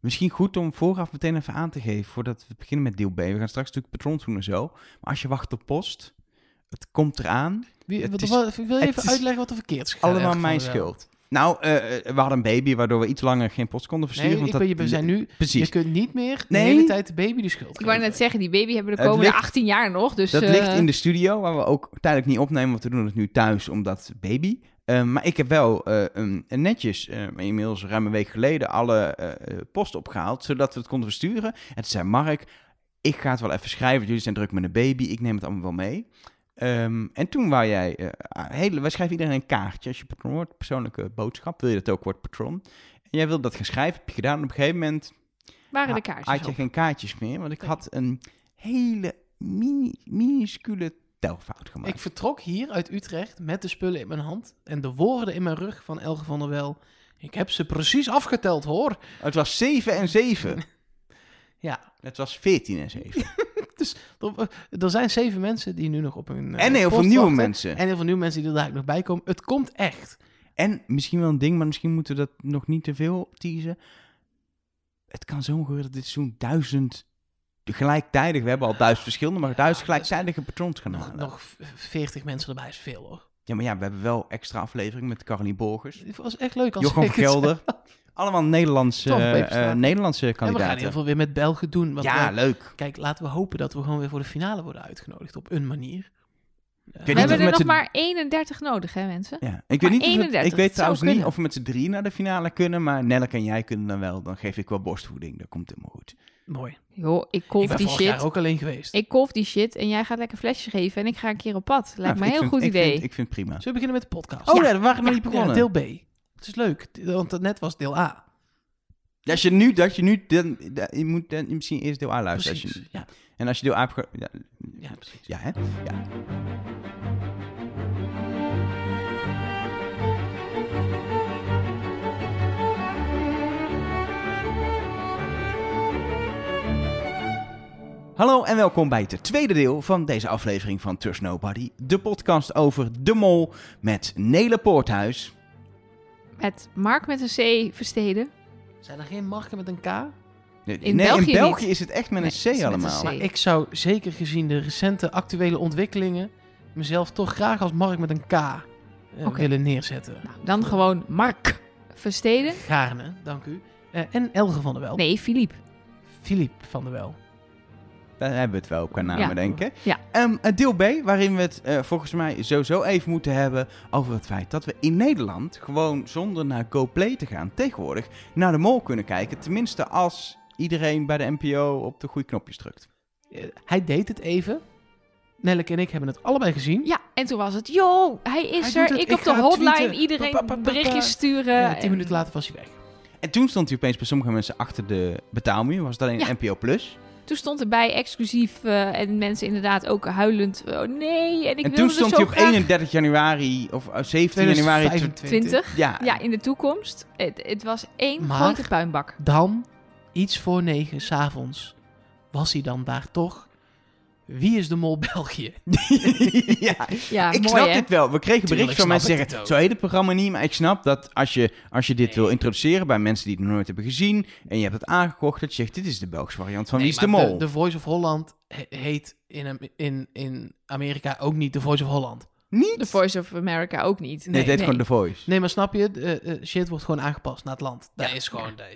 Misschien goed om vooraf meteen even aan te geven voordat we beginnen met deel B. We gaan straks natuurlijk patrons doen en zo. Maar als je wacht op post, het komt eraan. Wie, Het wat, is- wat- wil je het even is uitleggen wat er verkeerd is? gegaan Allemaal ergens mijn van mezelf? schuld. Nou, eh, eh, we hadden een baby waardoor we iets langer geen post konden versturen. Nee, ik want ben, dat- we zijn nu... Precies. Je kunt niet meer Nee. de hele tijd de baby de schuld Ik wou net geven. zeggen, die baby hebben de Het komende ligt- 18 jaar nog. Dus, Dat eh, ligt in de studio, waar we ook tijdelijk niet opnemen, want we doen het nu thuis omdat baby. Eh, maar ik heb wel eh, een- een netjes, eh, inmiddels ruim een week geleden, alle eh, eh, post opgehaald, zodat we het konden versturen. En toen zei Mark, ik ga het wel even schrijven, want jullie zijn druk met een baby, ik neem het allemaal wel mee. Ehm, en toen wou jij, eh, ah, hele, wij schrijven iedereen een kaartje als je patron wordt, persoonlijke boodschap, wil je dat ook, wordt patron. En jij wilde dat gaan schrijven, heb je gedaan en op een gegeven moment waren de Ha- kaartjes Had je op. geen kaartjes meer, want ik Nee. had een hele mini, minuscule telfout gemaakt. Ik vertrok hier uit Utrecht met de spullen in mijn hand en de woorden in mijn rug van Elge van der Wel. Ik heb ze precies afgeteld, hoor. Het was 7 en 7. Ja, Het was 14 en 7. er, eh, er zijn zeven mensen die nu nog op hun eh, en heel veel post nieuwe wachten. mensen. En, En heel veel nieuwe mensen die er dadelijk nog bij komen. Het komt echt. misschien wel een ding, maar misschien moeten we dat nog niet te veel teasen. Het kan zo gebeuren dat dit zo'n duizend gelijktijdig, we hebben al duizend verschillende, maar duizend dat is- gelijktijdige patrons gaan Nog, halen. nog v- 40 mensen erbij is veel, hoor. Ja, maar ja, we hebben wel extra aflevering met Caroline Borgers, Het was echt leuk. Als Jochem ik het- Gelder. Allemaal Nederlandse, Tof, eh, Beepstraat. eh, Nederlandse En we kandidaten. gaan in ieder geval weer met Belgen doen. want ja, we- leuk. Kijk, laten we hopen dat we gewoon weer voor de finale worden uitgenodigd op een manier. Eh, weet niet We hebben of er nog met z'n- maar 31 nodig, hè mensen? Ja, ik Maar weet, niet of we- 31, ik weet het zou trouwens niet kunnen. of we met z'n drie naar de finale kunnen, maar Nelleke en jij kunnen dan wel. Dan geef ik wel borstvoeding, dat komt helemaal goed. Mooi. Joh, ik ik kolf ben die vorig shit. jaar ook alleen geweest. Ik kolf die shit en jij gaat lekker flesjes geven en ik ga een keer op pad. Lijkt Nou, me ik een heel vind- goed ik idee. Vind, ik vind het prima. Zullen we beginnen met de podcast? Oh ja, we waren nog niet Ja, begonnen. deel B. Het is leuk, d- want net was deel A. Ja, als je nu, dat je nu, dan, dan- je moet dan misschien eerst deel A luisteren. Als Precies. je, Ja, en als je deel A hebt ge- ja, ja, precies. ja, hè? Ja. Hallo en welkom bij het tweede deel van deze aflevering van Trust Nobody. De podcast over De Mol met Nele Poorthuis. Met Mark met een C versteden. Zijn er geen marken met een K? Nee, In nee, België in België niet. is het echt met Nee, een het C is met een allemaal. C. Maar ik zou zeker gezien de recente actuele ontwikkelingen mezelf toch graag als Mark met een K eh, Oké. willen neerzetten. Nou, dan gewoon Mark versteden. Gaarne, dank u. Eh, en Elge van der Wel. Nee, Filip. Philippe van der Wel. Daar hebben we het wel qua namen, Ja. denk ik. Ja. Ehm, het deel B, waarin we het eh, volgens mij sowieso even moeten hebben over het feit dat we in Nederland gewoon zonder naar GoPlay te gaan tegenwoordig naar de mol kunnen kijken. Tenminste als iedereen bij de NPO op de goede knopjes drukt. Eh, hij deed het even. Nelleke en ik hebben het allebei gezien. Ja, en toen was het, yo, hij is Hij er. doet het, ik ik op de ga hotline tweeten. iedereen Pa, pa, pa, pa. berichtjes sturen. Eh, tien en- minuten later was hij weg. En toen stond hij opeens bij sommige mensen achter de betaalmuur. Was dat alleen Ja. NPO Plus? Toen stond erbij exclusief eh, en mensen inderdaad ook huilend. Oh nee, en ik en wilde toen er stond zo hij op graag 31 januari of eh, 17 januari. 2025. 20. Ja, Ja, in de toekomst. Het, het was één Maar- grote puinbak. Dan, iets voor negen, s'avonds, was hij dan daar toch. Wie is de mol België? ja. Ja, ik mooi snap hè? dit wel. We kregen Tuurlijk berichten van snap mensen die ik zeggen, het zo heet het programma niet. Maar ik snap dat als je, als je dit Nee. wil introduceren bij mensen die het nog nooit hebben gezien... en je hebt het aangekocht, dat je zegt, dit is de Belgische variant van Nee, Wie is de maar Mol. De, Voice of Holland he- heet in, in, in Amerika ook niet de Voice of Holland. Niet? De Voice of America ook niet. nee, het heet gewoon The Voice. Nee, maar snap je? Eh, eh, shit wordt gewoon aangepast naar het land. Dat is gewoon... dat-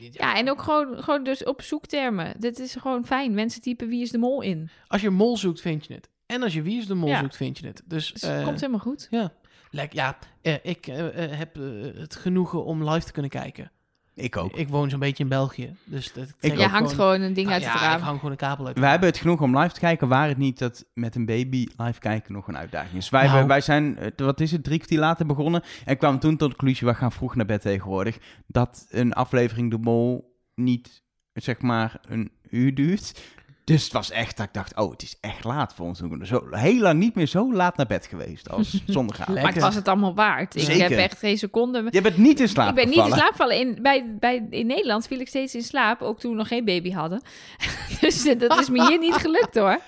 niet- Ja, en ook gewoon, gewoon dus op zoektermen. Dit is gewoon fijn. Mensen typen wie is de mol in. Als je mol zoekt, vind je het. En als je wie is de mol Ja. zoekt, vind je het. Dus, Dus eh, het komt helemaal goed. Ja, Lek, ja eh, ik eh, eh, heb eh, het genoegen om live te kunnen kijken. Ik ook. Ik woon zo'n beetje in België. Dus dat trek ook. Jij ik hangt gewoon een ding Ah, uit ja, het ik raam. hang gewoon een kabel uit. We hebben het genoeg om live te kijken, waar het niet dat met een baby live kijken nog een uitdaging is. Wij, Nou. hebben- wij zijn, eh, wat is het, drie kwartier later begonnen en kwamen toen tot de conclusie, we gaan vroeg naar bed tegenwoordig, dat een aflevering De Mol niet, zeg maar, een uur duurt. Dus het was echt dat ik dacht, oh, het is echt laat voor ons. We zijn zo heel lang niet meer zo laat naar bed geweest als zondagavond. Maar het Lekker. was het allemaal waard. Ik Zeker. heb echt geen seconde. Je bent niet in slaap Ik ben niet in gevallen. slaap gevallen. In, bij, bij, in Nederland viel ik steeds in slaap, ook toen we nog geen baby hadden. dus eh, dat is me hier niet gelukt hoor.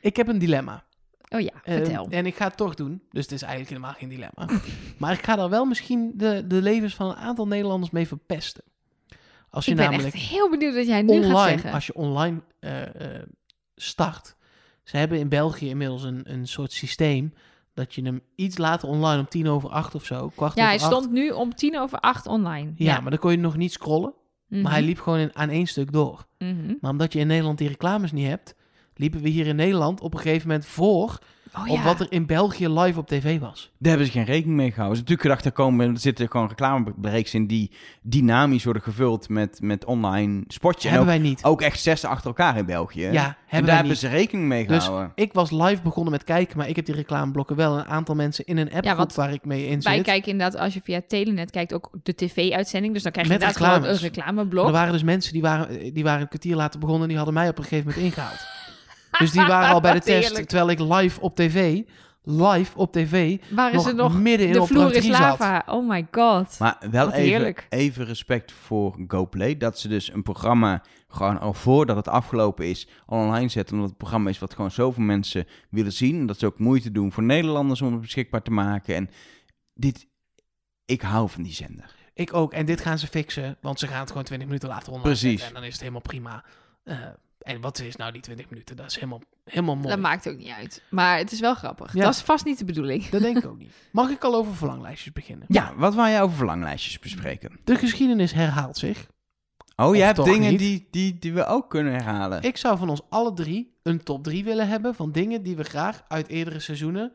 Ik heb een dilemma. Oh ja, Eh, vertel. en ik ga het toch doen. Dus het is eigenlijk helemaal geen dilemma. maar ik ga daar wel misschien de, de levens van een aantal Nederlanders mee verpesten. Als je Ik ben echt namelijk heel benieuwd wat jij nu gaat online, zeggen. als je online eh, eh, start. Ze hebben in België inmiddels een, een soort systeem dat je hem iets later online om tien over acht of zo, kwart Ja, over hij acht. stond nu om tien over acht online. Ja, maar dan kon je nog niet scrollen, maar hij liep gewoon in- aan één stuk door. Mhm. Maar omdat je in Nederland die reclames niet hebt, liepen we hier in Nederland op een gegeven moment voor Oh, op ja. wat er in België live op tv was. Daar hebben ze geen rekening mee gehouden. Ze hebben natuurlijk gedacht, er, komen, er zitten gewoon reclamebreaks in die dynamisch worden gevuld met, met online spotje. En hebben ook, wij niet. ook echt zes achter elkaar in België. ja, en hebben daar wij hebben niet. ze rekening mee Dus- gehouden. Ik was live begonnen met kijken, maar ik heb die reclameblokken wel een aantal mensen in een app want waar ik mee in Wij zit. kijken inderdaad, als je via Telenet kijkt, ook de tv-uitzending. Dus dan krijg je Met inderdaad gewoon een reclames. reclameblok. Er waren dus mensen die waren, die waren een kwartier later begonnen en die hadden mij op een gegeven moment ingehaald. dus die waren al bij de Wat test, heerlijk. terwijl ik live op tv, live op tv, Waar is nog, er nog? midden in De vloer is opdracht 3 zat. lava. Oh my god. Maar wel Wat even, heerlijk. even respect voor GoPlay. Dat ze dus een programma gewoon al voordat het afgelopen is al online zetten. Omdat het programma is wat gewoon zoveel mensen willen zien. En dat ze ook moeite doen voor Nederlanders om het beschikbaar te maken. En dit, ik hou van die zender. Ik ook. En dit gaan ze fixen, want ze gaan het gewoon 20 minuten later online Precies. zetten En dan is het helemaal prima. Eh, en wat is nou die 20 minuten? Dat is helemaal, helemaal mooi. Dat maakt ook niet uit. Maar het is wel grappig. Ja. Dat is vast niet de bedoeling. Dat denk ik ook niet. Mag ik al over verlanglijstjes beginnen? Ja, Nou, wat wou jij over verlanglijstjes bespreken? De geschiedenis herhaalt zich. Oh, Of jij hebt toch dingen niet? die, die, die we ook kunnen herhalen. Ik zou van ons alle drie een top 3 willen hebben van dingen die we graag uit eerdere seizoenen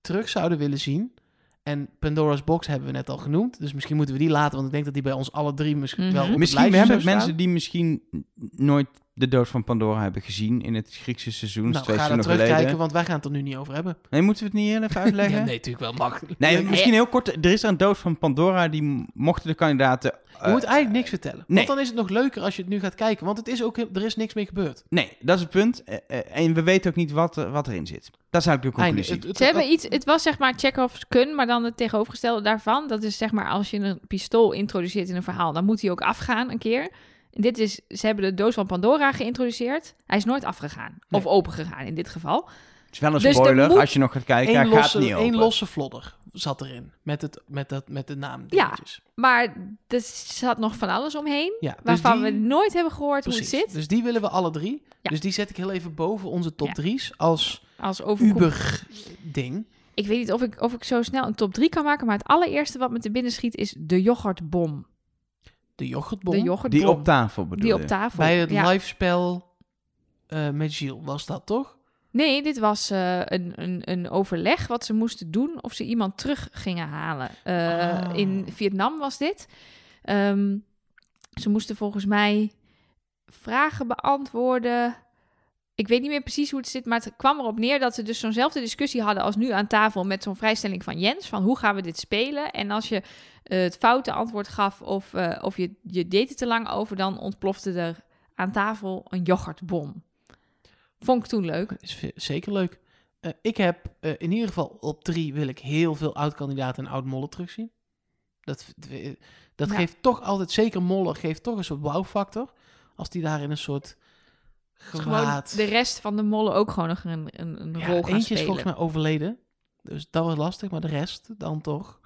terug zouden willen zien. En Pandora's Box hebben we net al genoemd. Dus misschien moeten we die laten, want ik denk dat die bij ons alle drie misschien Mhm. wel op het misschien lijstje hebben zou staan. mensen die misschien nooit de dood van Pandora hebben gezien in het Griekse seizoen. twee Nou, ga dat seizoenen terugkijken, geleden. want wij gaan het er nu niet over hebben. Nee, moeten we het niet heel even Ja, uitleggen? nee, natuurlijk wel makkelijk. Nee, je misschien heel kort. Er is er een dood van Pandora. Die m- mochten de kandidaten. eh, moet eigenlijk niks vertellen. nee. Want dan is het nog leuker als je het nu gaat kijken, want het is ook, er is niks meer gebeurd. Nee, dat is het punt. Eh, eh, en we weten ook niet wat, eh, wat erin zit. Dat is eigenlijk de Einde. conclusie. Het- het- Ze hebben het- iets, het was zeg maar Chekhov's kun, maar dan het tegenovergestelde daarvan. Dat is zeg maar als je een pistool introduceert in een verhaal, dan moet hij ook afgaan een keer. En Dit is, ze hebben de doos van Pandora geïntroduceerd. Hij is nooit afgegaan. Of opengegaan in dit geval. het is wel een dus er spoiler. moet- Als je nog gaat kijken, hij één gaat losse, niet één open. losse vlodder zat erin, met, het, met, dat, met de naam. Maar er zat nog van alles omheen. Ja, dus Waarvan die- we nooit hebben gehoord Precies. hoe het zit. Dus die willen we alle drie. Ja. Dus die zet ik heel even boven onze top Ja. 3's als Als overkoepel. Uber-ding. Ik weet niet of ik, of ik zo snel een top 3 kan maken. Maar het allereerste wat me te binnen schiet is de yoghurtbom. De yoghurtbom. De yoghurtbom. Die op tafel bedoel Die op je? tafel. Bij het ja. live spel eh, met Gilles was dat toch? Nee, dit was eh, een, een, een overleg wat ze moesten doen of ze iemand terug gingen halen. Eh, Ah. In Vietnam was dit. Ehm, ze moesten volgens mij vragen beantwoorden. Ik weet niet meer precies hoe het zit, maar het kwam erop neer dat ze dus zo'nzelfde discussie hadden als nu aan tafel met zo'n vrijstelling van Jens. Van hoe gaan we dit spelen? En als je eh, het foute antwoord gaf of, eh, of je, je deed het te lang over, dan ontplofte er aan tafel een yoghurtbom. Vond ik toen leuk. Is v- zeker leuk. Eh, ik heb eh, in ieder geval op drie wil ik heel veel oud-kandidaten en oud-mollen terugzien. Dat, eh, dat Ja. geeft toch altijd, zeker mollen, geeft toch een soort wow-factor. Als die daar in een soort Dus gewoon gewaad... de rest van de mollen ook gewoon nog een, een, een Ja, rol gaan eentje is spelen. volgens mij overleden. Dus dat was lastig, maar de rest dan toch.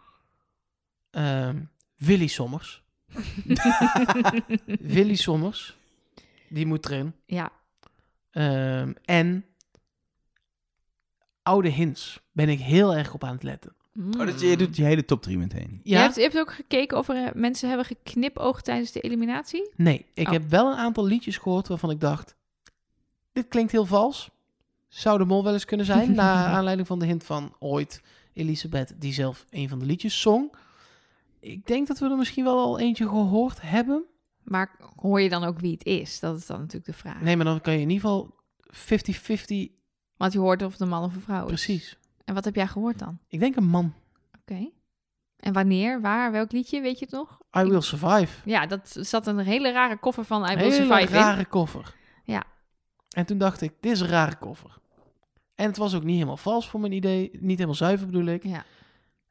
Ehm, Willy Sommers. Willy Sommers. Die moet erin. Ja, Ehm, en Oude Hins. Ben ik heel erg op aan het letten. Oh, dat, je doet die hele top 3 meteen. Mm. Je, Ja? hebt, je hebt ook gekeken of er eh, mensen hebben geknipoogd tijdens de eliminatie. Nee, ik Oh. heb wel een aantal liedjes gehoord waarvan ik dacht... Dit klinkt heel vals. Zou de mol wel eens kunnen zijn. naar aanleiding van de hint van ooit Elisabeth, die zelf een van de liedjes zong. Ik denk dat we er misschien wel al eentje gehoord hebben. Maar hoor je dan ook wie het is? Dat is dan natuurlijk de vraag. Nee, maar dan kan je in ieder geval 50-50... Want je hoort of het een man of een vrouw is. Precies. En wat heb jij gehoord dan? Ik denk een man. Oké. En wanneer, waar, welk liedje, weet je het nog? I Will Survive. Ja, dat zat een hele rare koffer van I Will Hele Survive in. rare koffer. Ja. En toen dacht ik, dit is een rare koffer. En het was ook niet helemaal vals voor mijn idee. Niet helemaal zuiver bedoel ik. Ja.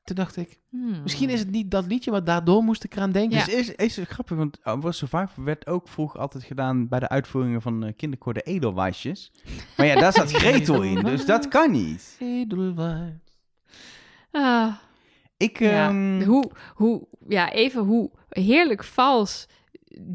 Toen dacht ik, Hmm. misschien is het niet dat liedje, maar daardoor moest ik eraan denken. Ja. Dus is, is het grappig, want uh, Will Survivor werd ook vroeg altijd gedaan bij de uitvoeringen van eh kinderkoor de edelwijsjes. Maar ja, daar zat Gretel in, dus dat kan niet. Edelweiss. Ah. Ik, Ja, ehm, hoe, hoe, ja, even hoe heerlijk vals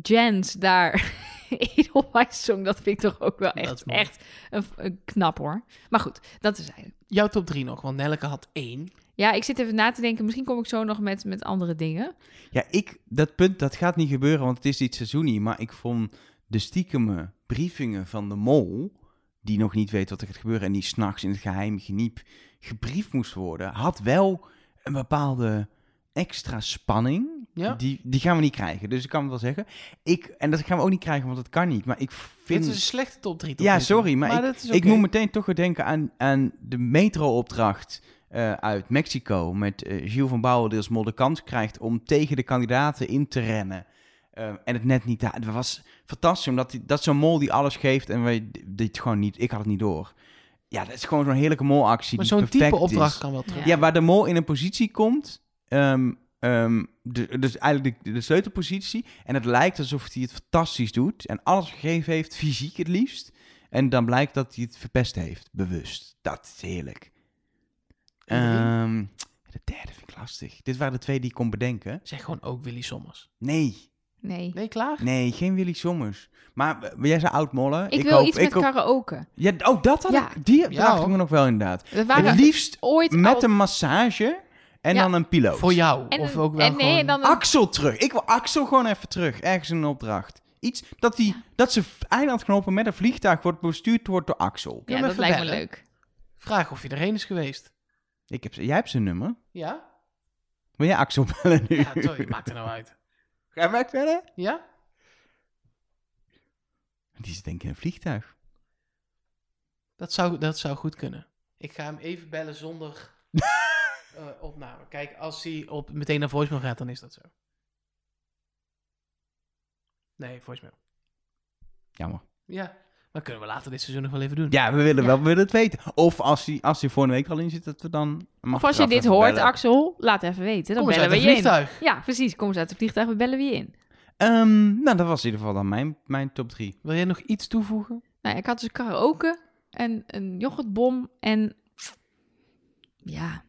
Jens daar Edelweiss zong, dat vind ik toch ook wel Dat echt, is mooi. echt een, een knap hoor. Maar goed, dat is eigenlijk. Jouw top 3 nog, want Nelke had één. Ja, ik zit even na te denken. Misschien kom ik zo nog met, met andere dingen. Ja, ik, dat punt, dat gaat niet gebeuren, want het is dit seizoen niet. Maar ik vond de stiekeme briefingen van de mol, die nog niet weet wat er gaat gebeuren en die s'nachts in het geheim geniep gebriefd moest worden, had wel een bepaalde extra spanning. Ja. Die, die gaan we niet krijgen, dus ik kan het wel zeggen. Ik, en dat gaan we ook niet krijgen, want dat kan niet. Maar ik vind... Dit is een slechte top 3. Ja, sorry, maar ik- dat is Ik oké. moet meteen toch weer denken aan, aan de metro-opdracht eh, uit Mexico. Met eh Gilles van Bouwen, die als mol de kans krijgt om tegen de kandidaten in te rennen. Eh, en het net niet. Dat was fantastisch, omdat die, dat is zo'n mol die alles geeft en wij dit gewoon niet. Ik had het niet door. Ja, dat is gewoon zo'n heerlijke molactie. Maar die zo'n type perfect is. opdracht kan wel terug. Ja, waar de mol in een positie komt. ehm, ehm, de- dus eigenlijk de, de sleutelpositie. En het lijkt alsof hij het fantastisch doet. En alles gegeven heeft, fysiek het liefst. En dan blijkt dat hij het verpest heeft, bewust. Dat is heerlijk. En drie? Ehm, de derde vind ik lastig. Dit waren de twee die ik kon bedenken. Zeg gewoon ook Willy Sommers. Nee, Nee. Nee, klaar? nee, geen Willy Sommers. Maar eh, jij zei oud mollen. Ik, wil hoop- iets met hoop- karaoke. ja, Oh, dat had Ja. ik. Die Ja, dacht ik hoor. me nog wel inderdaad. We Het waren liefst ooit al- met een massage en Ja. dan een piloot. Voor jou. en of een- ook wel en nee, gewoon... en dan een- Axel terug. Ik wil Axel gewoon even terug. Ergens in een opdracht. Iets dat, die, dat ze v- eilandknopen met een vliegtuig wordt bestuurd wordt door Axel. Kun je ja, hem dat even lijkt me bellen? leuk. Vraag of je erheen is geweest. Ik heb, z- jij hebt zijn nummer. Ja? Wil jij Axel bellen nu? Ja, sorry, maakt er nou uit. Ga je weg verder? Ja? Die zit denk ik in een vliegtuig. Dat zou, dat zou goed kunnen. Ik ga hem even bellen zonder eh, opname. Kijk, als hij op, meteen naar voicemail gaat, dan is dat zo. Nee, voicemail. Jammer. Ja, maar kunnen we later dit seizoen nog wel even doen. Ja, we willen Ja. wel we willen het weten. Of als hij als die volgende week al in zit, dat we dan... mag Of als ik eraf je dit even hoort, bellen. Axel, laat even weten. Dan Kom eens bellen uit we het je in. vliegtuig. Ja, precies. Kom eens uit het vliegtuig, we bellen we je in. Ehm, nou, dat was in ieder geval dan mijn, mijn top drie. Wil jij nog iets toevoegen? Nou, ik had dus karaoke en een yoghurtbom en... Ja,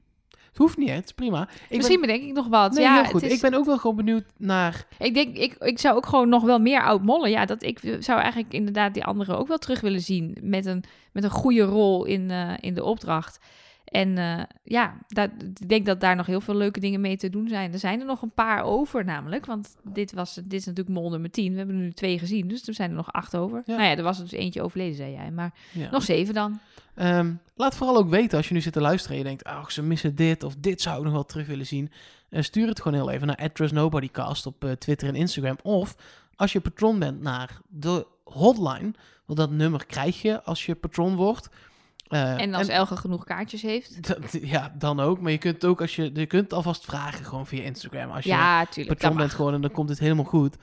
Het hoeft niet, hè? Het is prima. Ik misschien bedenk ik nog wat. ben, nee, ja, heel het goed. is- Ik ben ook wel gewoon benieuwd naar... Ik denk, ik, ik zou ook gewoon nog wel meer oud mollen. Ja, dat ik zou eigenlijk inderdaad die anderen ook wel terug willen zien. Met een, met een goede rol in, eh, in de opdracht. En eh, ja, dat, ik denk dat daar nog heel veel leuke dingen mee te doen zijn. Er zijn er nog een paar over namelijk. Want dit, was, dit is natuurlijk mol nummer 10. We hebben er nu twee gezien, dus er zijn er nog acht over. Ja. Nou ja, er was er dus eentje overleden, zei jij. Maar Ja. nog zeven dan. Ehm, laat vooral ook weten als je nu zit te luisteren en je denkt, ach, ze missen dit of dit zou ik nog wel terug willen zien. Eh, stuur het gewoon heel even naar @trustnobodycast op eh, Twitter en Instagram. Of als je patron bent naar de hotline, want dat nummer krijg je als je patron wordt. Eh, En als Elge genoeg kaartjes heeft. dat- ja, dan ook. Maar je kunt het ook als je, je kunt het alvast vragen gewoon via Instagram. Als je Ja, tuurlijk. dat patron bent mag. geworden, dan komt het helemaal goed.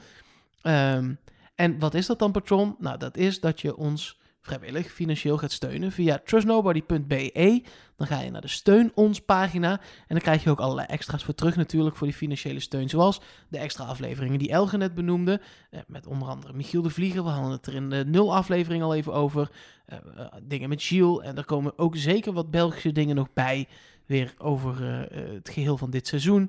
Ehm, en wat is dat dan, patron? Nou, dat is dat je ons vrijwillig financieel gaat steunen via trustnobody.be. E. Dan ga je naar de Steun Ons pagina en dan krijg je ook allerlei extra's voor terug natuurlijk voor die financiële steun. Zoals de extra afleveringen die Elge net benoemde, eh, met onder andere Michiel de Vlieger. We hadden het er in de nul aflevering al even over. Eh, eh, dingen met Gilles en er komen ook zeker wat Belgische dingen nog bij. Weer over eh, eh, het geheel van dit seizoen.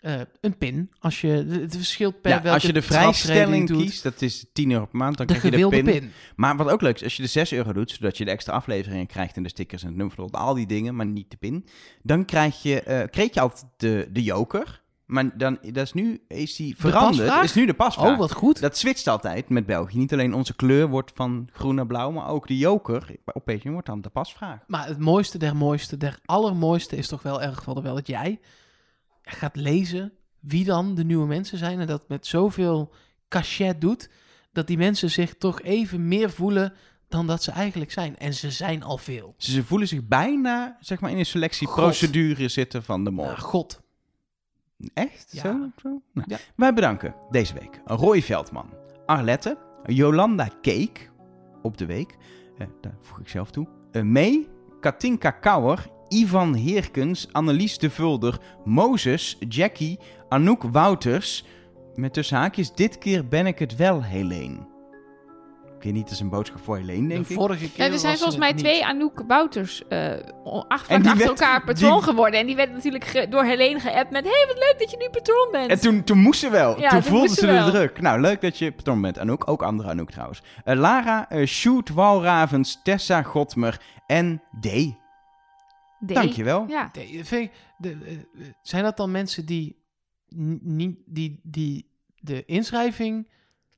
Eh, een pin. Als je, het verschilt per ja, welke als je de traptreden vrijstelling doet. kiest, dat is 10 euro per maand, dan de krijg je de gewilde pin. pin. Maar wat ook leuk is, als je de 6 euro doet, zodat je de extra afleveringen krijgt en de stickers en het nummervlot, al die dingen, maar niet de pin, dan krijg je, eh, kreeg je altijd de, de joker. Maar dan, dat is nu is die veranderd, pasvraag? is nu de pasvraag. Oh, wat goed. Dat switcht altijd met België. Niet alleen onze kleur wordt van groen naar blauw, maar ook de joker op Patreon wordt dan de pasvraag. Maar het mooiste der mooiste der allermooiste is toch wel erg geval wel dat jij gaat lezen wie dan de nieuwe mensen zijn en dat met zoveel cachet doet dat die mensen zich toch even meer voelen dan dat ze eigenlijk zijn. En ze zijn al veel. Dus ze voelen zich bijna, zeg maar, in een selectieprocedure zitten van de mol. Ah, God. Echt? Ja. Zo? Zo? Nou, Ja. Wij bedanken deze week Roy Veldman, Arlette, Jolanda Cake op de week, eh, daar voeg ik zelf toe, eh, May, Katinka Kouwer, Ivan Heerkens, Annelies de Vulder, Mozes, Jackie, Anouk Wouters, met tussen haakjes, dit keer ben ik het wel, Helene. keer niet als een boodschap voor Helene, denk de ik. vorige keer Ja, er zijn was volgens het mij niet. twee Anouk Wouters eh o- acht En vaak die achter werd- elkaar patroon die- geworden. En die werd natuurlijk ge- door Helene geappt met... hey, wat leuk dat je nu patroon bent. En toen, toen moest ze wel. Ja, toen toen voelde moest ze ze de wel. druk. Nou, leuk dat je patroon bent, Anouk. Ook andere Anouk trouwens. Eh, Lara, eh Sjoerd, Walravens, Tessa Godmer en D. Nee. Dankjewel. Ja. Nee, dat vind ik- de- eh, eh, zijn dat dan mensen die, n- niet, die, die de inschrijving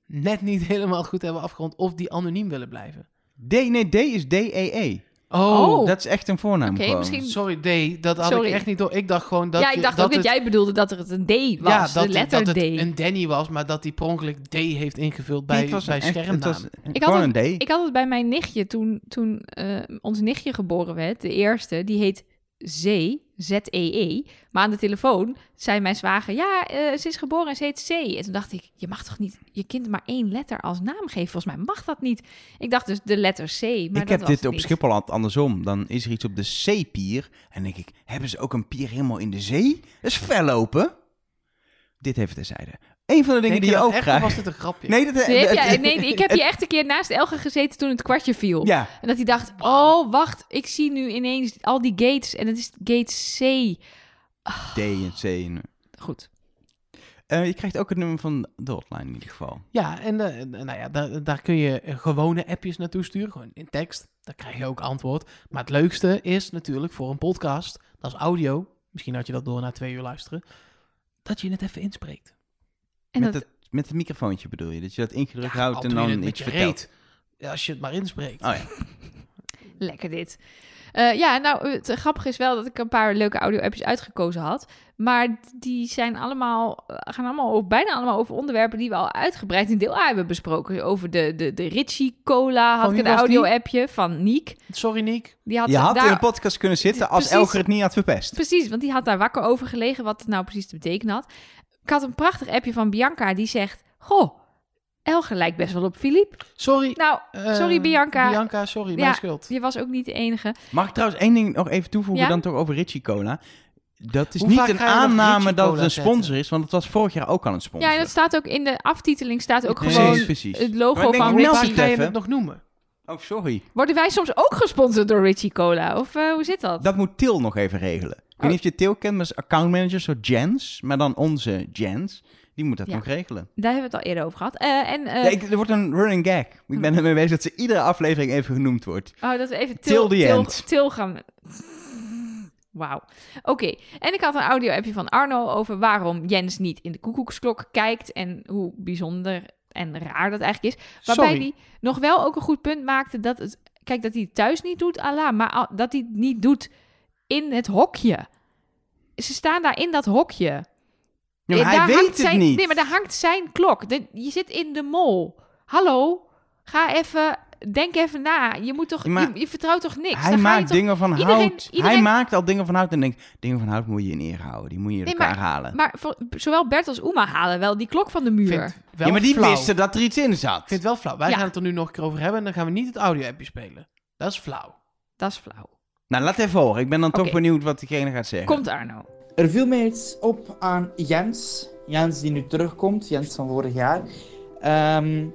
net niet helemaal goed hebben afgerond of die anoniem willen blijven? D, nee, D is D-E-E. Oh. Dat is echt een voornaam Oké, gewoon. misschien- Sorry D, dat had Sorry. ik echt niet door. Ik dacht gewoon dat ja, ik je- dacht dat ook dat het- jij bedoelde dat er het een D was. ja, dat, de letter dat het D. een Danny was, maar dat die per ongeluk D heeft ingevuld Nee, bij, het was bij een echt- het schermnaam. was een- Ik Gewoon een had D. Ik had het bij mijn nichtje toen, toen eh, ons nichtje geboren werd, de eerste, die heet Zee, Z-E-E. E. Maar aan de telefoon zei mijn zwager, ja, eh, ze is geboren en ze heet Zee. En toen dacht ik, je mag toch niet je kind maar één letter als naam geven? Volgens mij mag dat niet. Ik dacht dus de letter C, maar dat ik heb was dit het op niet. Schiphol altijd andersom. Dan is er iets op de zeepier. En denk ik, hebben ze ook een pier helemaal in de zee? Dat is fel open. Dit even terzijde. Een van de dingen Denk die je dat ook echt, of krijgt. was dit een grapje? Nee, dat, Nee, dat- ja, nee, ik heb hier echt een keer naast Elge gezeten toen het kwartje viel. Ja, En dat hij dacht, oh, wacht, ik zie nu ineens al die gates. En het is gate C. D en C. en- Goed. Eh, je krijgt ook het nummer van de hotline in ieder geval. Ja, en eh, en, nou ja, daar, daar kun je eh, gewone appjes naartoe sturen, gewoon in tekst. Daar krijg je ook antwoord. Maar het leukste is natuurlijk voor een podcast, dat is audio. Misschien had je dat door na twee uur luisteren. Dat je het even inspreekt. En met, dat, het, met het microfoontje bedoel je? Dat je dat ingedrukt Ja, al houdt en doe je dan het met iets je vertelt. reet. Ja, als je het maar inspreekt. Oh ja. Lekker dit. Eh, ja, nou, het grappige is wel dat ik een paar leuke audio-appjes uitgekozen had. Maar die zijn allemaal, eh, gaan allemaal over, bijna allemaal over onderwerpen die we al uitgebreid in deel A hebben besproken. Over de, de, de Ritchie Cola had wie ik een was die? audio-appje van Niek. Sorry Niek. Die had Je had daar- in de podcast kunnen zitten als Precies. Elger het niet had verpest. Precies, want die had daar wakker over gelegen wat het nou precies te betekenen had. Ik had een prachtig appje van Bianca die zegt, goh, Elge lijkt best wel op Filip. Sorry. Nou, eh, sorry, Bianca. Bianca, sorry, Ja. mijn schuld. je was ook niet de enige. Mag ik trouwens één ding nog even toevoegen Ja? dan toch over Ritchie Cola? Dat is Hoe vaak niet een ga je nog aanname Ritchie dat het Cola een sponsor zetten? is, want het was vorig jaar ook al een sponsor. Ja, en dat staat ook in de aftiteling, staat ook Precies. gewoon precies. het logo Maar ik denk van ook Hoe Meld vaak het ga je even. het nog noemen? Oh, sorry. Worden wij soms ook gesponsord door Richie Cola? Of eh, hoe zit dat? Dat moet Til nog even regelen. Ik Oh. weet niet of je Til kent, maar is accountmanager, zo Jens. Maar dan onze Jens. Die moet dat Ja. nog regelen. Daar hebben we het al eerder over gehad. Eh, en, eh, hm. Ja, ik, er wordt een running gag. Ik ben ermee bezig dat ze iedere aflevering even genoemd wordt. oh, dat we even Till til, the til, end. til gaan... Wauw. Oké, en ik had een audio-appje van Arno over waarom Jens niet in de koekoeksklok kijkt en hoe bijzonder en raar dat eigenlijk is. Waarbij Sorry. hij nog wel ook een goed punt maakte dat het... Kijk, dat hij het thuis niet doet, ala, maar al- dat hij het niet doet in het hokje. Ze staan daar in dat hokje. Ja, maar Eh, hij daar weet hangt het zijn- niet. Nee, maar daar hangt zijn klok. De- je zit in de mol. Hallo, ga even, denk even na. Je moet toch, Ja, maar je, je vertrouwt toch niks. hij Dan ga je maakt toch- dingen van Iedereen- hout. Hij iedereen- maakt al dingen van hout en denkt... Dingen van hout moet je in ere houden. Die moet je uit Nee, elkaar halen. Maar voor, zowel Bert als Oema halen wel die klok van de Ik muur. vind het wel ja, maar die flauw. wisten dat er iets in zat. Ik vind het wel flauw. Wij Ja. gaan het er nu nog een keer over hebben en dan gaan we niet het audio-appje spelen. Dat is flauw. Dat is flauw. Nou, laat even horen. Ik ben dan toch Oké. benieuwd wat diegene gaat zeggen. Komt Arno. Er viel mij iets op aan Jens. Jens die nu terugkomt, Jens van vorig jaar. Ehm,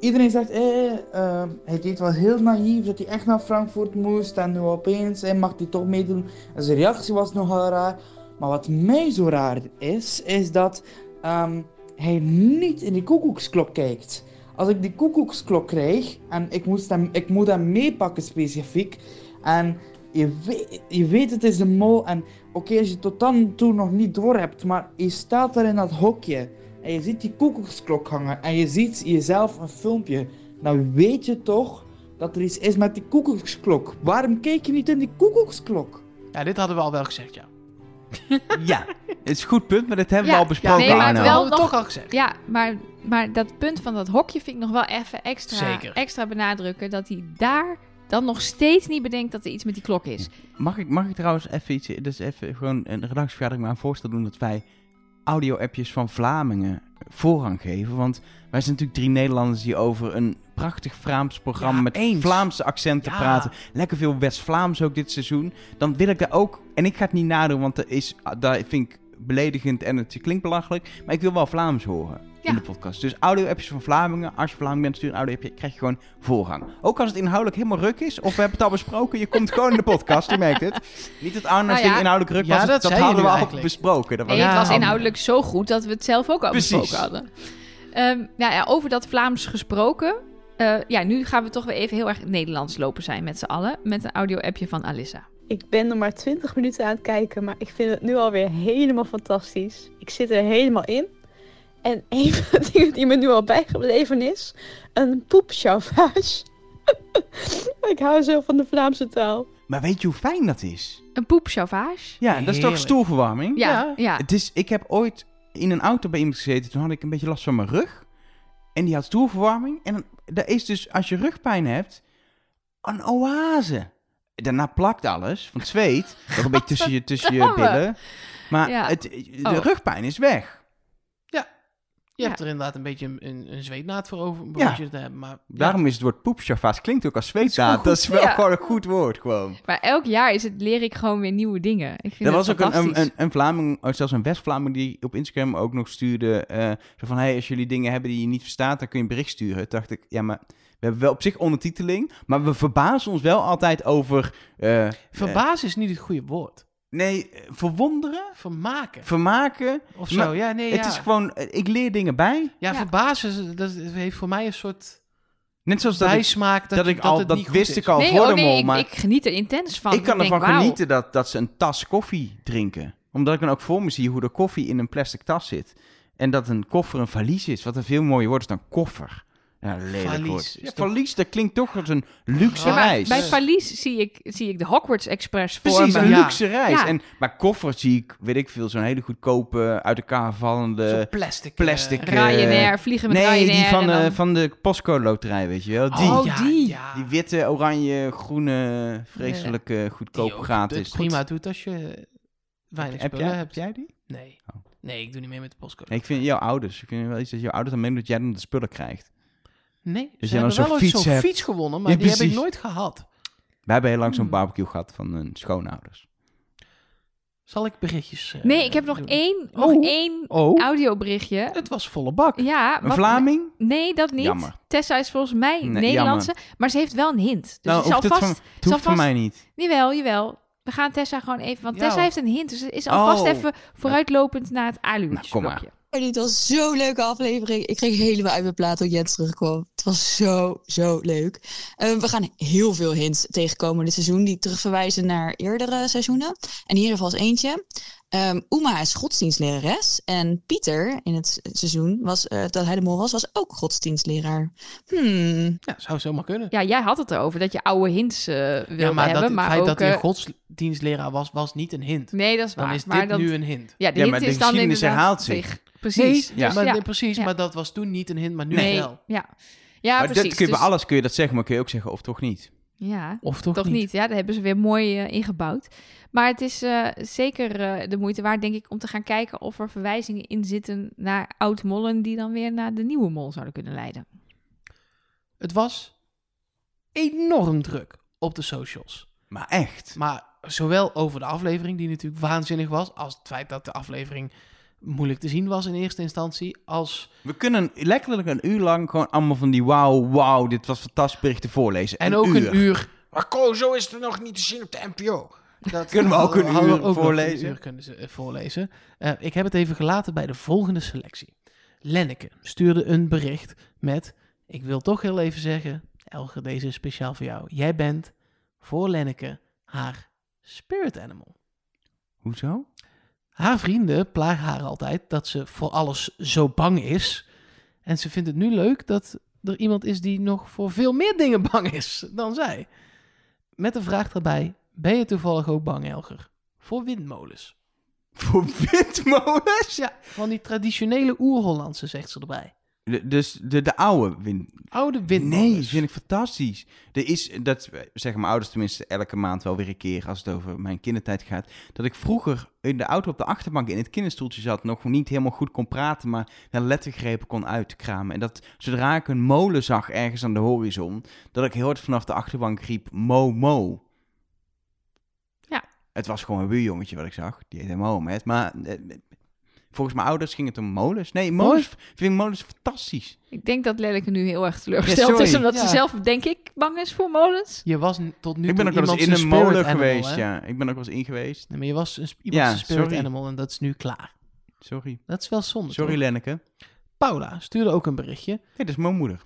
iedereen zegt, eh, eh, hij deed wel heel naïef dat hij echt naar Frankfurt moest. En nu opeens eh, mag hij toch meedoen. En zijn reactie was nogal raar. Maar wat mij zo raar is, is dat ehm, hij niet in die koekoeksklok kijkt. Als ik die koekoeksklok krijg en ik, moest hem, ik moet hem meepakken specifiek. En je weet, je weet het is de mol en Oké, als je het tot dan toe nog niet door hebt, maar je staat daar in dat hokje en je ziet die koekoeksklok hangen en je ziet jezelf een filmpje, dan weet je toch dat er iets is met die koekoeksklok. Waarom kijk je niet in die koekoeksklok? Ja, dit hadden we al wel gezegd, ja. Ja, het is een goed punt, maar dat hebben Ja, we al besproken. nee, maar het Arno. Dat wel hadden we nog- toch al gezegd. Ja, maar, maar dat punt van dat hokje vind ik nog wel even extra, Zeker. extra benadrukken. Dat hij daar dan nog steeds niet bedenkt dat er iets met die klok is. Mag ik, mag ik trouwens even iets, dus even gewoon een redactievergadering, maar een voorstel doen dat wij audio-appjes van Vlamingen voorrang geven? Want wij zijn natuurlijk drie Nederlanders die over een prachtig Vlaams programma Ja, met eens. Vlaamse accenten Ja. praten. Lekker veel West-Vlaams ook dit seizoen. Dan wil ik daar ook, en ik ga het niet nadoen, want dat, is, dat vind ik beledigend en het klinkt belachelijk, maar ik wil wel Vlaams horen. in Ja. de podcast. Dus audio-appjes van Vlamingen. Als je Vlaming bent, stuur een audio-appje. krijg je gewoon voorrang. Ook als het inhoudelijk helemaal ruk is. Of we hebben het al besproken. Je komt gewoon in de podcast. Je merkt het. Niet dat Arna's Nou ja. ding inhoudelijk ruk Ja, was. dat dat zei je hadden nu we al eigenlijk. besproken. Dat was Nee, Ja, het was maar- inhoudelijk zo goed dat we het zelf ook al Precies. besproken hadden. Ehm, nou ja, over dat Vlaams gesproken. eh, ja, nu gaan we toch weer even heel erg Nederlands lopen zijn met z'n allen. Met een audio-appje van Alissa. Ik ben er maar 20 minuten aan het kijken, maar ik vind het nu alweer helemaal fantastisch. Ik zit er helemaal in. En een van de dingen die me nu al bijgebleven is, een poepchauvage. ik hou zo van de Vlaamse taal. Maar weet je hoe fijn dat is? Een poepchavage. Ja, dat is toch Heerlijk. stoelverwarming? Ja, Ja. ja. Het is, ik heb ooit in een auto bij iemand gezeten. Toen had ik een beetje last van mijn rug. En die had stoelverwarming. En dan- dat is dus, als je rugpijn hebt, een oase. Daarna plakt alles van het zweet. Nog een beetje tussen je, tussen je Gadverdamme. billen. Maar Ja. het, de Oh. rugpijn is weg. Je Ja. hebt er inderdaad een beetje een, een, een zweetnaad voor over. behoef je te hebben, maar, ja. Daarom is het woord poepchafas klinkt ook als Dat is zweetdaad. goed, Dat is wel ja. gewoon een goed woord gewoon. Maar elk jaar is het, leer ik gewoon weer nieuwe dingen. Ik vind Er was het ook een, een, fantastisch. een, een Vlaming, oh, zelfs een West-Vlaming, die op Instagram ook nog stuurde. eh, zo van, hey, als jullie dingen hebben die je niet verstaat, dan kun je een bericht sturen. Toen dacht ik, ja, maar we hebben wel op zich ondertiteling. Maar we verbazen ons wel altijd over, eh, Verbazen is niet het goede woord. nee, eh, verwonderen, Vermaken. vermaken. Of zo, Maar ja, nee, Het ja. is gewoon, eh, ik leer dingen bij. ja, Ja. verbazen is- dat heeft voor mij een soort Net zoals dat ik, bijsmaak dat, dat je- ik al, het dat niet goed wist is. ik al Nee, voor oh de mol, nee, ik, maar ik geniet er intens van. ik kan denk, ervan wauw. genieten dat, dat ze een tas koffie drinken. Omdat ik dan ook voor me zie hoe de koffie in een plastic tas zit. En dat een koffer een valies is. Wat een veel mooier woord is dan koffer. Ja, lelijk Valies woord. is Ja, toch- valies, dat klinkt toch als een luxe Ja, maar reis. Bij Ja. Valies zie ik, zie ik de Hogwarts Express voor Precies, me. een Ja. luxe reis. Ja. En, maar koffer zie ik, weet ik veel, zo'n hele goedkope, uit elkaar Zo'n vallende... plastic. plastic, eh, eh, Ryanair, vliegen met Nee, Ryanair. die van, en eh, dan- van de postcode loterij, weet je wel. Die, oh, die. ja, Die. ja. die witte, oranje, groene, vreselijke, Die goedkope ook gratis. het prima doet als je weinig Heb spullen jij, heb hebt. jij die? Nee. Oh. Nee, ik doe niet mee met de postcode. Nee, ik vind jouw ouders. Ik vind wel iets dat jouw ouders aan meedoen dat jij dan de spullen krijgt. Nee, Dus jij ze dan hebben zo'n wel ooit fiets zo'n hebt. fiets gewonnen, maar Ja, die heb ik precies. nooit gehad. We hebben heel lang zo'n Hmm. barbecue gehad van hun schoonouders. Zal ik berichtjes eh, Nee, ik heb nog doen? één, nog Oh. één Oh, audioberichtje. Het was volle bak. Ja, een wat- Vlaming? Nee, dat niet. Jammer. Tessa is volgens mij Nee, Nederlandse, maar ze heeft wel een hint. Dus nou, het zal hoeft het vast... van, het hoeft van vast- mij niet. Jawel, jawel. We gaan Tessa gewoon even... Want Ja. Tessa heeft een hint, dus het is alvast Oh. even vooruitlopend naar het Nou, kom maar. aluhoedjesblokje. Oh, dit was zo'n leuke aflevering. Ik kreeg helemaal uit mijn plaat toen Jens terugkwam. Het was zo, zo leuk. Eh, we gaan heel veel hints tegenkomen dit seizoen die terugverwijzen naar eerdere seizoenen. En hier vast eentje. Ehm Uma is godsdienstlerares. En Pieter in het seizoen was, eh, dat hij de mol was, was ook godsdienstleraar. Hmm. Ja, zou zomaar kunnen. ja, jij had het erover, dat je oude hints eh wilde Ja, maar hebben. dat, het maar feit ook, dat hij eh, een godsdienstleraar was, was niet een hint. Nee, dat is waar. Dan is maar dit dat... nu een hint. Ja, de Ja, hint maar de is dan geschiedenis inderdaad herhaalt zich. Precies. Nee, ja. maar, ja. nee, precies, ja. maar dat was toen niet een hint, maar nu Nee. wel. Ja, ja maar precies. dat kun je Dus- bij alles kun je dat zeggen, maar kun je ook zeggen of toch niet. Ja, Of toch, toch niet. Ja, daar hebben ze weer mooi eh, ingebouwd. Maar het is eh, zeker eh, de moeite waard, denk ik, om te gaan kijken of er verwijzingen in zitten naar oud-mollen die dan weer naar de nieuwe mol zouden kunnen leiden. Het was enorm druk op de socials. Maar echt. Maar zowel over de aflevering, die natuurlijk waanzinnig was, als het feit dat de aflevering moeilijk te zien was in eerste instantie, als... We kunnen letterlijk een uur lang gewoon allemaal van die wauw, wauw, dit was fantastisch berichten voorlezen. En ook een uur. Maar Ko, zo is het nog niet te zien op de NPO. Dat Kunnen we ook een hadden we uur ook nog voorlezen? Een uur kunnen ze, eh, voorlezen. Eh, ik heb het even gelaten bij de volgende selectie. Lenneke stuurde een bericht met... Ik wil toch heel even zeggen, Elger, deze is speciaal voor jou. Jij bent voor Lenneke haar spirit animal. Hoezo? Haar vrienden plagen haar altijd dat ze voor alles zo bang is. En ze vindt het nu leuk dat er iemand is die nog voor veel meer dingen bang is dan zij. Met de vraag daarbij, ben je toevallig ook bang, Elger? Voor windmolens. Voor windmolens? Ja, van die traditionele oer-Hollandse, zegt ze erbij. De- dus de, de oude wind, Oude Nee, windmolens. dat vind ik fantastisch. Er is, dat zeggen mijn ouders tenminste elke maand wel weer een keer als het over mijn kindertijd gaat. Dat ik vroeger in de auto op de achterbank in het kinderstoeltje zat, nog niet helemaal goed kon praten, maar wel lettergrepen kon uitkramen. En dat zodra ik een molen zag ergens aan de horizon, dat ik heel hard vanaf de achterbank riep: Mo, mo. Ja. Het was gewoon een buurjongetje wat ik zag. Die heette Mohamed. Maar eh, Volgens mijn ouders ging het om molens. Nee, molens. Ik vind molens fantastisch. Ik denk dat Lelleke nu heel erg teleurgesteld sorry. is, omdat Ja. ze zelf, denk ik, bang is voor molens. Je was n- tot ik nu toe ben ook wel eens iemand in zijn een spirit molen animal, geweest. hè? Ja, ik ben ook wel eens in geweest. Nee, maar je was een, sp- iemand Ja, zijn spirit sorry. animal en dat is nu klaar. Sorry. Dat is wel zonde. Sorry, toch? Lenneke. Nee, Paula stuurde ook een berichtje. dat is mijn moeder.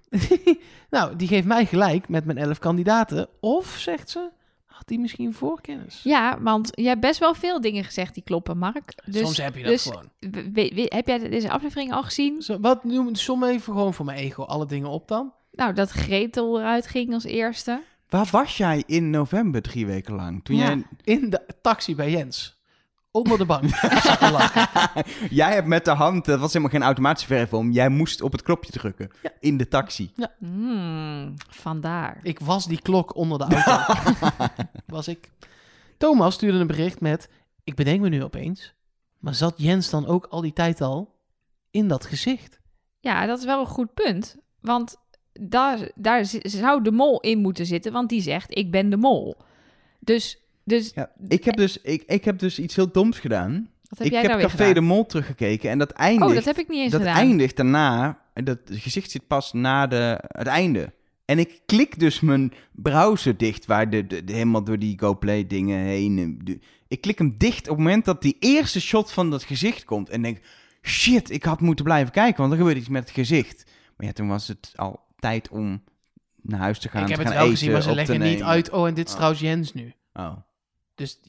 Nou, die geeft mij gelijk met mijn elf kandidaten. Of, zegt ze, had die misschien voorkennis? Ja, want jij hebt best wel veel dingen gezegd die kloppen, Mark. Dus Soms heb je dat dus- gewoon. we- we- we- heb jij deze aflevering al gezien? Zo, wat noem, som even gewoon voor mijn ego alle dingen op dan. Nou, dat Gretel eruit ging als eerste. Waar was jij in november drie weken lang? Toen Ja. jij... In de taxi bij Jens. Onder de bank. Ik zat te lachen. jij hebt met de hand, dat was helemaal geen automatische verf om, jij moest op het knopje drukken. Ja. In de taxi. Hmm, vandaar. ik was die klok onder de auto. was ik. Thomas stuurde een bericht met... Ik bedenk me nu opeens. Maar zat Jens dan ook al die tijd al in dat gezicht? Ja, dat is wel een goed punt. Want daar, daar z- zou de mol in moeten zitten, want die zegt: Ik ben de mol. Dus, dus Ja, ik, heb dus, ik, ik heb dus iets heel doms gedaan. wat heb ik jij heb nou weer Café gedaan? de Mol teruggekeken en dat eindigt... Oh, dat heb ik niet eens dat gedaan. eindigt daarna, en dat gezicht zit pas na de, het einde. En ik klik dus mijn browser dicht, waar de, de- de- helemaal door die GoPlay dingen heen. eh, de- ik klik hem dicht op het moment dat die eerste shot van dat gezicht komt. En denk, shit, ik had moeten blijven kijken, want er gebeurt iets met het gezicht. Maar ja, toen was het al tijd om naar huis te gaan. ik heb te het gaan wel eten, gezien, maar ze op te leggen niet nemen. uit... Oh, en dit is Oh. trouwens Jens nu. Oh. Dus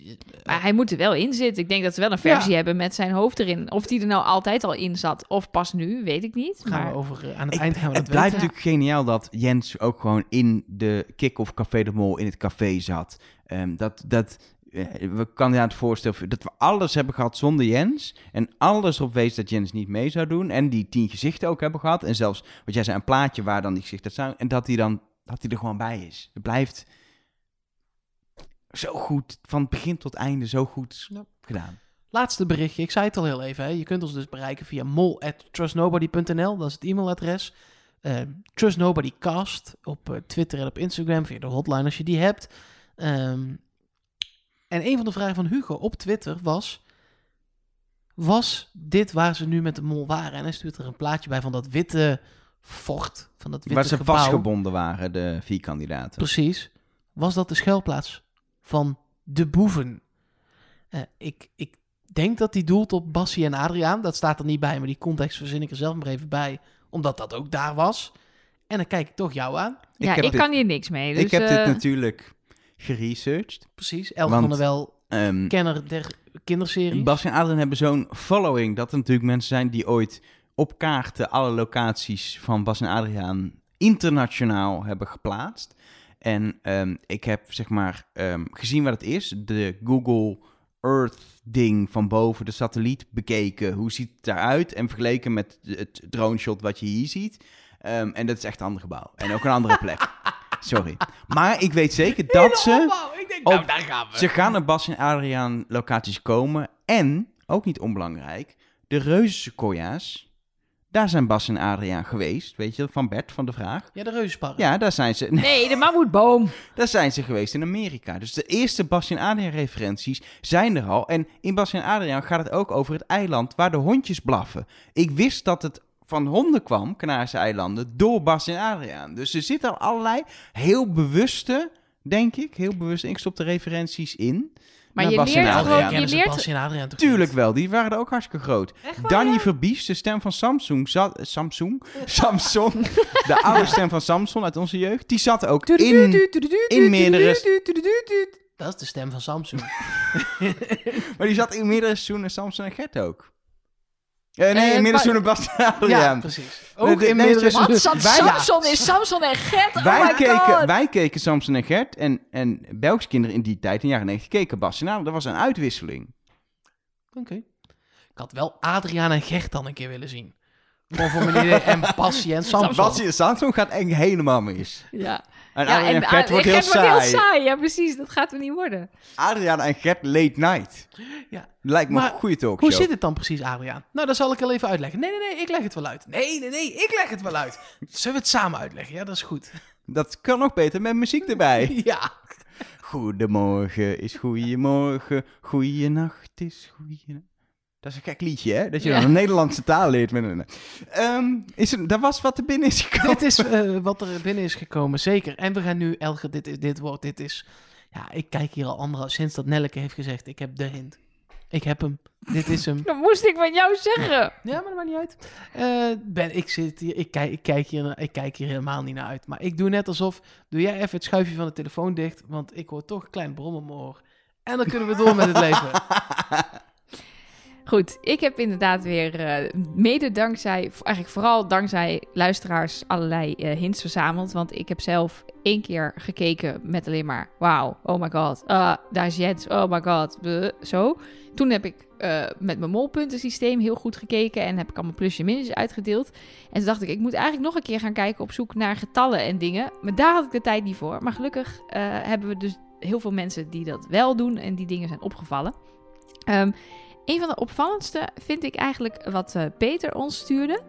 Maar hij moet er wel in zitten. Ik denk dat ze wel een versie hebben met zijn hoofd erin. Of die er nou altijd al in zat, of pas nu, weet ik niet. gaan Maar we over, eh, aan het Ik- eind gaan we Het dat blijft weten. natuurlijk geniaal dat Jens ook gewoon in de kick-off Café de Mol in het café zat. Ehm, dat, dat, eh, we kan je aan het voorstellen dat we alles hebben gehad zonder Jens. En alles erop wees dat Jens niet mee zou doen. En die tien gezichten ook hebben gehad. En zelfs, wat jij zei, een plaatje waar dan die gezichten staan. En dat hij dan dat hij er gewoon bij is. Het blijft zo goed, van begin tot einde, zo goed Ja. gedaan. Laatste berichtje, ik zei het al heel even. Hè. Je kunt ons dus bereiken via mol.trustnobody.nl, dat is het e-mailadres. Eh, Trustnobodycast op eh, Twitter en op Instagram, via de hotline als je die hebt. Ehm, en een van de vragen van Hugo op Twitter was... Was dit waar ze nu met de mol waren? En hij stuurt er een plaatje bij van dat witte fort, van dat witte Waar ze gebouw. vastgebonden waren, de vier kandidaten. Precies. Was dat de schuilplaats van de boeven? Eh, ik, ik denk dat die doelt op Bassie en Adriaan. Dat staat er niet bij, maar die context verzin ik er zelf maar even bij. Omdat dat ook daar was. En dan kijk ik toch jou aan. ja, ik, heb dit- kan hier niks mee. Dus, ik heb dit eh, natuurlijk geresearched. Precies. Elke Want- van der Wel, Ehm, kenner der kinderserie. Bas en Adrien hebben zo'n following dat er natuurlijk mensen zijn die ooit op kaarten alle locaties van Bas en Adriaan internationaal hebben geplaatst. En ehm, ik heb zeg maar ehm, gezien wat het is, de Google Earth ding van boven de satelliet bekeken. Hoe ziet het eruit en vergeleken met het drone shot wat je hier ziet. Ehm, en dat is echt een ander gebouw en ook een andere plek. Sorry. Maar ik weet zeker dat ze... Ik denk, nou, nou, op- daar gaan we. Ze gaan naar Bas en Adriaan locaties komen. En, ook niet onbelangrijk, de reuzensequoia's. Daar zijn Bas en Adriaan geweest, weet je, van Bert van de Vraag. Ja, de reuzenpark. Ja, daar zijn ze, nee, Nee, de mammoetboom. daar zijn ze geweest in Amerika. Dus de eerste Bas en Adriaan referenties zijn er al. En in Bas en Adriaan gaat het ook over het eiland waar de hondjes blaffen. Ik wist dat het van honden kwam, Canarische eilanden, door Bas en Adriaan. Dus er zitten al allerlei heel bewuste, denk ik, heel bewust ingestopte referenties in. Maar naar je Bas en leert Adriaan. gewoon- je Kennen ze leert- Nou, Bassie en Adriaan toch Tuurlijk niet? wel, die waren er ook hartstikke groot. Danny Verbies, de stem van Samsung, zat, Samsung? Samsung, de oude stem van Samsung uit onze jeugd, die zat ook in, in meerdere, Dat is de stem van Samsung. maar die zat in meerdere seizoenen Samsung en Gert ook. Eh, nee, Eh, in meerdere pa- seizoenen Bas ja, ja, precies. Ook in meerdere- Want Sam- Wij- Samson is Samson en Gert. Oh wij, my keken, god. wij keken Samsung en Gert en, en Belgische kinderen in die tijd, in de jaren 90, keken Bas en Adriaan. Dat was een uitwisseling. Oké. Ik had wel Adriaan en Gert dan een keer willen zien. Gewoon voor meneer en Passie en Bas Samson. en Samsung gaat echt helemaal mis. Ja. En Ja, Adriaan en Gert ah, wordt heel saai. Ja, precies. Dat gaat hem niet worden. Adriaan en Gert late night. Ja. Lijkt me Maar een goede talkshow. Hoe zit het dan precies, Adriaan? Nou, dat zal ik al even uitleggen. Nee, nee, nee, ik leg het wel uit. Nee, nee, nee, ik leg het wel uit. Zullen we het samen uitleggen? Ja, dat is goed. Dat kan ook beter met muziek erbij. Ja. Goedemorgen is goeiemorgen. Goeienacht is goeienacht. Dat is een gek liedje, hè? Dat je Ja. dan een Nederlandse taal leert. Met een... Ehm, is er, daar was wat er binnen is gekomen. Dit is eh, wat er binnen is gekomen, zeker. En we gaan nu, Elge, dit, is, dit wordt, dit is... Ja, ik kijk hier al andere, sinds dat Nelleke heeft gezegd, ik heb de hint. Ik heb hem. Dit is hem. Dat moest ik van jou zeggen. Ja, maar dat maakt niet uit. Eh, ben, ik, zit hier, ik, kijk, ik, kijk hier, naar- ik kijk hier helemaal niet naar uit. Maar ik doe net alsof... Doe jij even het schuifje van de telefoon dicht, want ik hoor toch een klein brom om mijn oor. En dan kunnen we door met het leven. Goed, ik heb inderdaad weer eh, mede dankzij, v- eigenlijk vooral dankzij luisteraars, allerlei eh, hints verzameld. Want ik heb zelf één keer gekeken met alleen maar, wauw, oh my god, ah, daar is Jens, oh my god, bleh, zo. Toen heb ik eh, met mijn molpuntensysteem heel goed gekeken en heb ik allemaal plusje en minusjes uitgedeeld. En toen dacht ik, ik moet eigenlijk nog een keer gaan kijken op zoek naar getallen en dingen. Maar daar had ik de tijd niet voor. Maar gelukkig eh, hebben we dus heel veel mensen die dat wel doen en die dingen zijn opgevallen. Ehm, een van de opvallendste vind ik eigenlijk wat eh, Peter ons stuurde.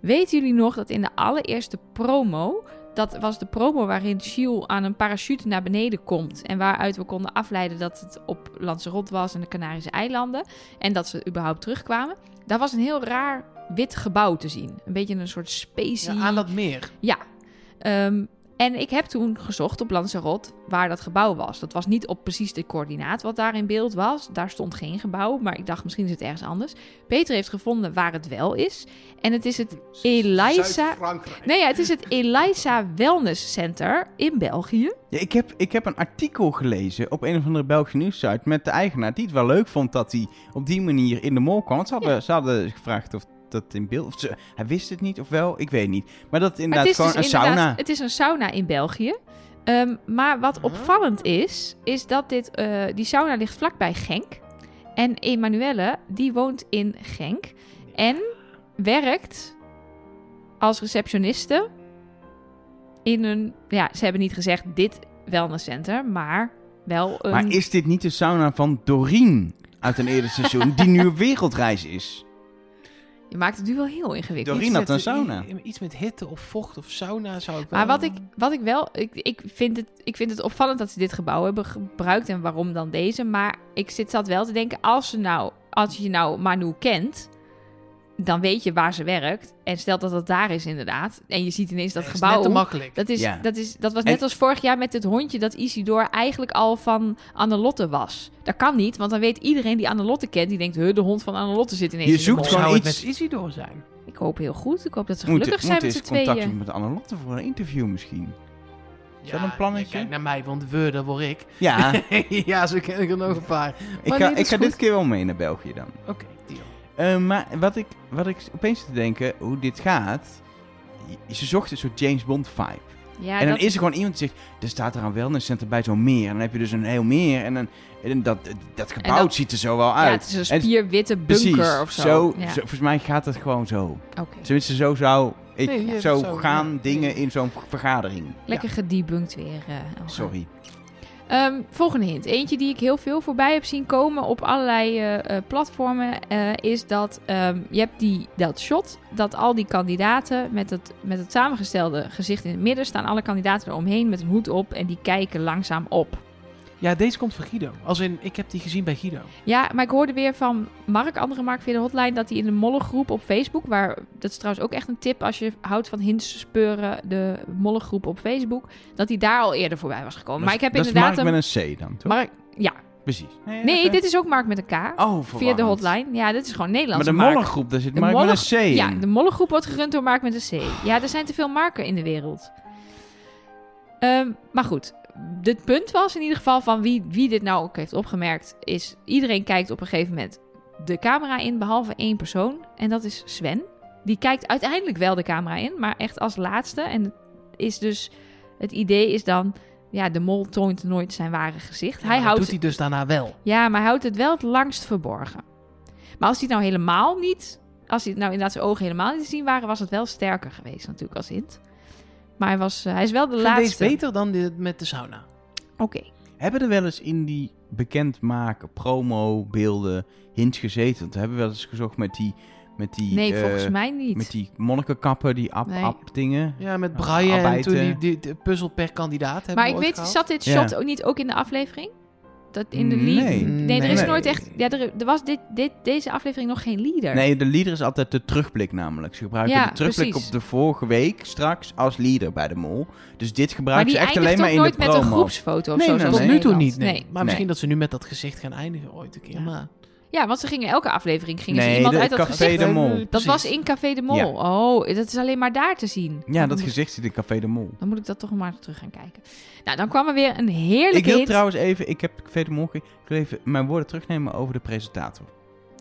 Weten jullie nog dat in de allereerste promo, dat was de promo waarin Shiel aan een parachute naar beneden komt en waaruit we konden afleiden dat het op Lanzarote was en de Canarische eilanden en dat ze überhaupt terugkwamen. Daar was een heel raar wit gebouw te zien. Een beetje een soort specie. Ja, aan dat meer. Ja. Ehm, en ik heb toen gezocht op Lanzarote waar dat gebouw was. Dat was niet op precies de coördinaat wat daar in beeld was. Daar stond geen gebouw, maar ik dacht misschien is het ergens anders. Peter heeft gevonden waar het wel is. En het is het Eliza... Frankrijk. Nee, ja, het is het Eliza Wellness Center in België. Ja, ik, heb, ik heb een artikel gelezen op een of andere Belgische nieuwssite met de eigenaar. Die het wel leuk vond dat hij op die manier in de mol kwam. Want ze hadden, ze hadden gevraagd of dat in beeld... Of ze, hij wist het niet of wel, ik weet niet. Maar dat het Maar het inderdaad is gewoon een dus inderdaad- sauna. Het is een sauna in België. Ehm, maar wat opvallend is, is dat dit, eh, die sauna ligt vlakbij Genk. En Emanuelle, die woont in Genk. En werkt als receptioniste in een... Ja, ze hebben niet gezegd dit wellnesscenter, maar wel een... Maar is dit niet de sauna van Doreen uit een eerder seizoen... die nu op wereldreis is? Je maakt het nu wel heel ingewikkeld. Doreen Iets had met- een sauna. i- i- Iets met hitte of vocht of sauna zou ik wel... eh, Maar wat ik, wat ik wel, ik, ik, vind het, ik vind het opvallend dat ze dit gebouw hebben gebruikt en waarom dan deze. Maar ik zit zat wel te denken, als, ze nou, als je nou Manu kent, dan weet je waar ze werkt. En stel dat dat daar is inderdaad. En je ziet ineens dat is gebouw. Net te makkelijk. dat, is, Ja. dat, is, dat was net En- als vorig jaar met het hondje dat Isidor eigenlijk al van Annelotte was. Dat kan niet, want dan weet iedereen die Annelotte kent, die denkt, huh, de hond van Annelotte zit ineens Je in zoekt de mol. gewoon zou het iets- met Isidor zijn. Ik hoop heel goed. Ik hoop dat ze Moet- gelukkig zijn moet met eens z'n contact tweeën. zoeken met Annelotte voor een interview misschien. Is dat een plannetje? Ah. Kijk naar mij, want we, dat word ik. Oh Ja, ja, zo ken ik er nog een paar. ik nee, ga, dat ik is ga goed. dit keer wel mee naar België dan. Oké, deal. Eh, maar wat ik, wat ik opeens zit te denken, hoe dit gaat... Ze zocht een soort James Bond vibe. Ja, en dan dat- is er gewoon iemand die zegt, er staat er een wellnesscentrum bij zo'n meer. En dan heb je dus een heel meer. En, dan, en dat, dat gebouw En dat- ziet er zo wel Ja, uit. het is een En- spierwitte bunker Precies, of zo. ja. Volgens mij gaat het gewoon zo. Oké, Tenminste, zo zou ik Nee, ja, zo, zo, gaan ja. dingen in zo'n vergadering. lekker gedebunkt weer. eh, Elger. Sorry. Ehm, volgende hint. Eentje die ik heel veel voorbij heb zien komen op allerlei eh, eh, platformen... eh, is dat ehm, je hebt die, dat shot dat al die kandidaten... Met het, met het samengestelde gezicht in het midden... staan alle kandidaten eromheen met een hoed op... en die kijken langzaam op. Ja, deze komt van Guido. Als in, ik heb die gezien bij Guido. Ja, maar ik hoorde weer van Mark, andere Mark via de hotline, dat hij in de mollengroep op Facebook, waar dat is trouwens ook echt een tip als je houdt van hints speuren, de mollengroep op Facebook, dat hij daar al eerder voorbij was gekomen. maar ik heb dat inderdaad is Mark met een C dan, toch? Mark, ja. Precies. Nee, Nee, even- dit is ook Mark met een K. oh, via de verwarrend. hotline. Ja, dit is gewoon Maar Nederlands. de Mark. mollengroep, daar zit De Mark mollen- met een C Ja, in. de mollengroep wordt gerund door Mark met een C. Ja, er zijn te veel Marken in de wereld. Ehm, maar goed, het punt was in ieder geval van wie, wie dit nou ook heeft opgemerkt, is iedereen kijkt op een gegeven moment de camera in, behalve één persoon. En dat is Sven. Die kijkt uiteindelijk wel de camera in, maar echt als laatste. En het is dus, het idee is dan, ja, de mol toont nooit zijn ware gezicht. Maar hij dat houdt doet hij dus daarna wel. ja, maar hij houdt het wel het langst verborgen. Maar als hij het nou helemaal niet... Als hij het nou inderdaad zijn ogen helemaal niet te zien waren... was het wel sterker geweest natuurlijk als hint. Maar hij, was, eh, hij is wel de Ik vind deze laatste. beter dan dit met de sauna. Oké. Hebben er wel eens in die bekendmaken, promo, beelden, hints gezeten? Want we hebben wel eens gezocht met die... Met die Nee, eh, volgens mij niet. Met die monnikenkappen, die Nee. ap-ap-dingen. Ja, met Nou, Brian en arbeid, toen die, eh. die, de puzzel per kandidaat hebben Maar we ik ooit weet, gehad. zat dit Ja. shot ook niet ook in de aflevering? dat in de lead. Nee. Nee, er is Nee. nooit echt. Ja, er, er was dit, dit, deze aflevering nog geen leader. Nee, de leader is altijd de terugblik namelijk. Ze gebruiken Ja, de terugblik precies. op de vorige week straks als leader bij de mol. Dus dit maar gebruiken die ze echt eindigt alleen toch maar in nooit de met promo. een groepsfoto of Nee, zo. nee, zoals Tot nee. nu toe Nederland. niet, nee. Maar misschien Nee. dat ze nu met dat gezicht gaan eindigen ooit een keer. Ja. Maar Ja, want ze gingen elke aflevering gingen ze Nee, iemand de- uit dat Café gezicht. de Mol. Eh, Dat precies. was in Café de Mol. Ja. Oh, dat is alleen maar daar te zien. Ja, dat gezicht zit in Café de Mol. Dan moet ik dat toch maar terug gaan kijken. Nou, dan kwam er weer een Ik heerlijke wil hit. trouwens even, ik heb Café de Mol ge- ik wil even mijn woorden terugnemen over de presentator.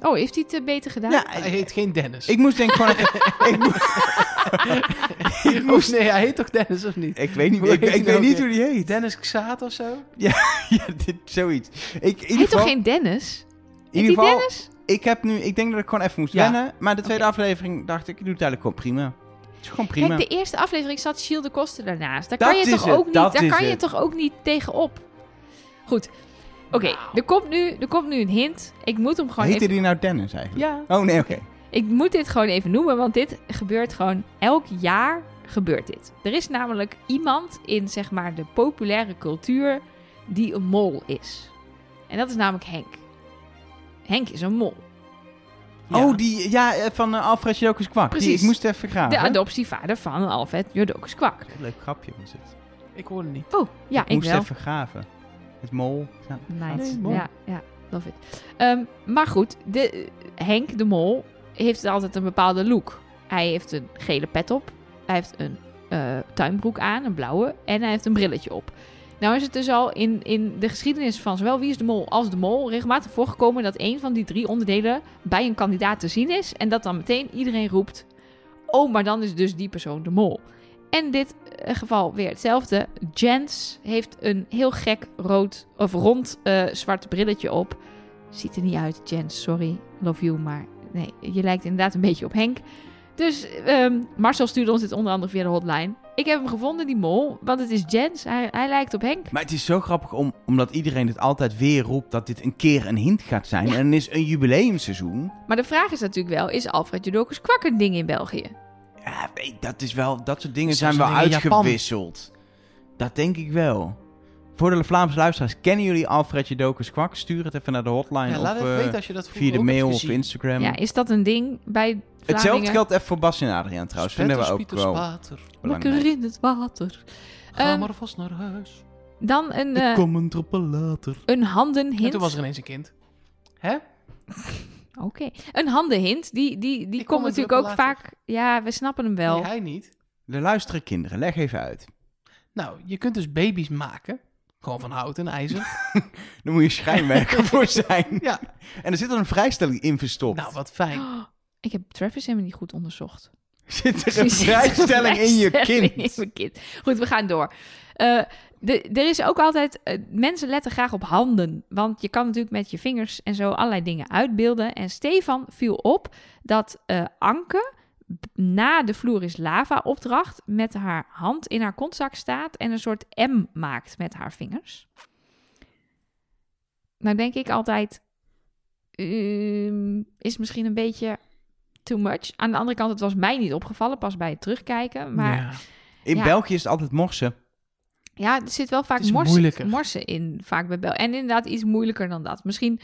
Oh, heeft hij het eh, beter gedaan? Ja, Hij ik- heet geen Dennis. ik moest denk ik gewoon even- ik, moest- ik moest... Nee, hij heet toch Dennis of niet? ik weet niet, Hoe ik, heet ik hij weet nou niet ook hoe die heet. Dennis Xaat of Oh, zo? Ja, dit, zoiets. Ik, in Hij ieder heet toch geval, geen Dennis? in Heet ieder die geval, Dennis? ik heb nu, ik denk dat ik gewoon even moest Ja. wennen. Maar de tweede aflevering dacht ik, ik doe het eigenlijk gewoon prima. Het is gewoon prima. Kijk, de eerste aflevering zat Shield de Koster daarnaast. Daar Dat kan je, is toch, het, ook niet, dat daar is kan je het. toch ook niet tegenop? Goed. Oké, Nou. er, komt nu- er komt nu een hint. Ik moet hem gewoon Heette even... die nou Dennis eigenlijk? Ja. Oh nee, oké. Ik moet dit gewoon even noemen, want dit gebeurt gewoon elk jaar gebeurt dit. Er is namelijk iemand in zeg maar de populaire cultuur die een mol is. En dat is namelijk Henk. Henk is een mol. Ja. Oh, die, ja, eh, van eh, Alfred Jokers Kwak. Die, Precies. ik moest even graven. De adoptievader van Alfred Jodokus Kwak. Leuk grapje was het. Ik hoorde niet. Oh, ja, ik, moest wel. even graven. Het mol. Ja. Nice. Nee, mooi. ja, ja, love it. Ehm, maar goed, de, eh, Henk de Mol heeft altijd een bepaalde look. Hij heeft een gele pet op. Hij heeft een eh, tuinbroek aan, een blauwe. En hij heeft een brilletje op. Nou is het dus al in, in de geschiedenis van zowel Wie is de Mol als de Mol regelmatig voorgekomen dat een van die drie onderdelen bij een kandidaat te zien is. En dat dan meteen iedereen roept, oh, maar dan is dus die persoon de Mol. En dit eh, geval weer hetzelfde. Jens heeft een heel gek rood of rond eh, zwart brilletje op. Ziet er niet uit, Jens. Sorry, love you, maar nee, je lijkt inderdaad een beetje op Henk. Dus ehm, Marcel stuurde ons dit onder andere via de hotline. Ik heb hem gevonden, die mol, want het is Jens. Hij, hij lijkt op Henk. Maar het is zo grappig om, omdat iedereen het altijd weer roept dat dit een keer een hint gaat zijn. En dan is een jubileumseizoen. Maar de vraag is natuurlijk wel, is Alfred Jodokus kwak een ding in België? Ja, weet, dat is wel, dat soort dingen Dat zijn soort wel dingen in Japan. uitgewisseld. Dat denk ik wel. Voor de Vlaamse luisteraars, kennen jullie Alfred Jodokers Kwak? Stuur het even naar de hotline Ja, of laat even eh, weten als je dat vroeger via de ook hebt mail of gezien. Instagram. ja, is dat een ding bij Ehm, Hetzelfde Vlaanderen? geldt even voor Bas en Adriaan trouwens. Vinden we ook Spieters, wel water. Lekker belangrijk. in het water. Ga Ehm, maar vast naar huis. Dan een, eh, kom een droppel later. een handenhint. En toen was er ineens een kind. Hè? Oké. Een handenhint, die, die, die Ik komt kom een natuurlijk ook druppel later. vaak... Ja, we snappen hem wel. Nee, hij niet. De luisteren kinderen, leg even uit. Nou, je kunt dus baby's maken. Gewoon van hout en ijzer. Daar moet je schijnwerker voor zijn. Ja. En er zit er een vrijstelling in verstopt. nou, wat fijn. Oh, ik heb Travis helemaal niet goed onderzocht. Zit er een Precies, vrijstelling in je vrijstelling kind? in mijn kind. Goed, we gaan door. Eh, de- er is ook altijd... eh, mensen letten graag op handen. Want je kan natuurlijk met je vingers en zo allerlei dingen uitbeelden. En Stefan viel op dat eh, Anke b- na de Vloer is Lava opdracht... met haar hand in haar kontzak staat en een soort M maakt met haar vingers. Nou denk ik altijd... ehm, is misschien een beetje too much. Aan de andere kant, het was mij niet opgevallen, pas bij het terugkijken. Maar ja, Ja. In Ja. België is het altijd morsen. er zit wel Het vaak is moeilijker. morsen, morsen in, vaak bij Bel. En inderdaad iets moeilijker dan dat. Misschien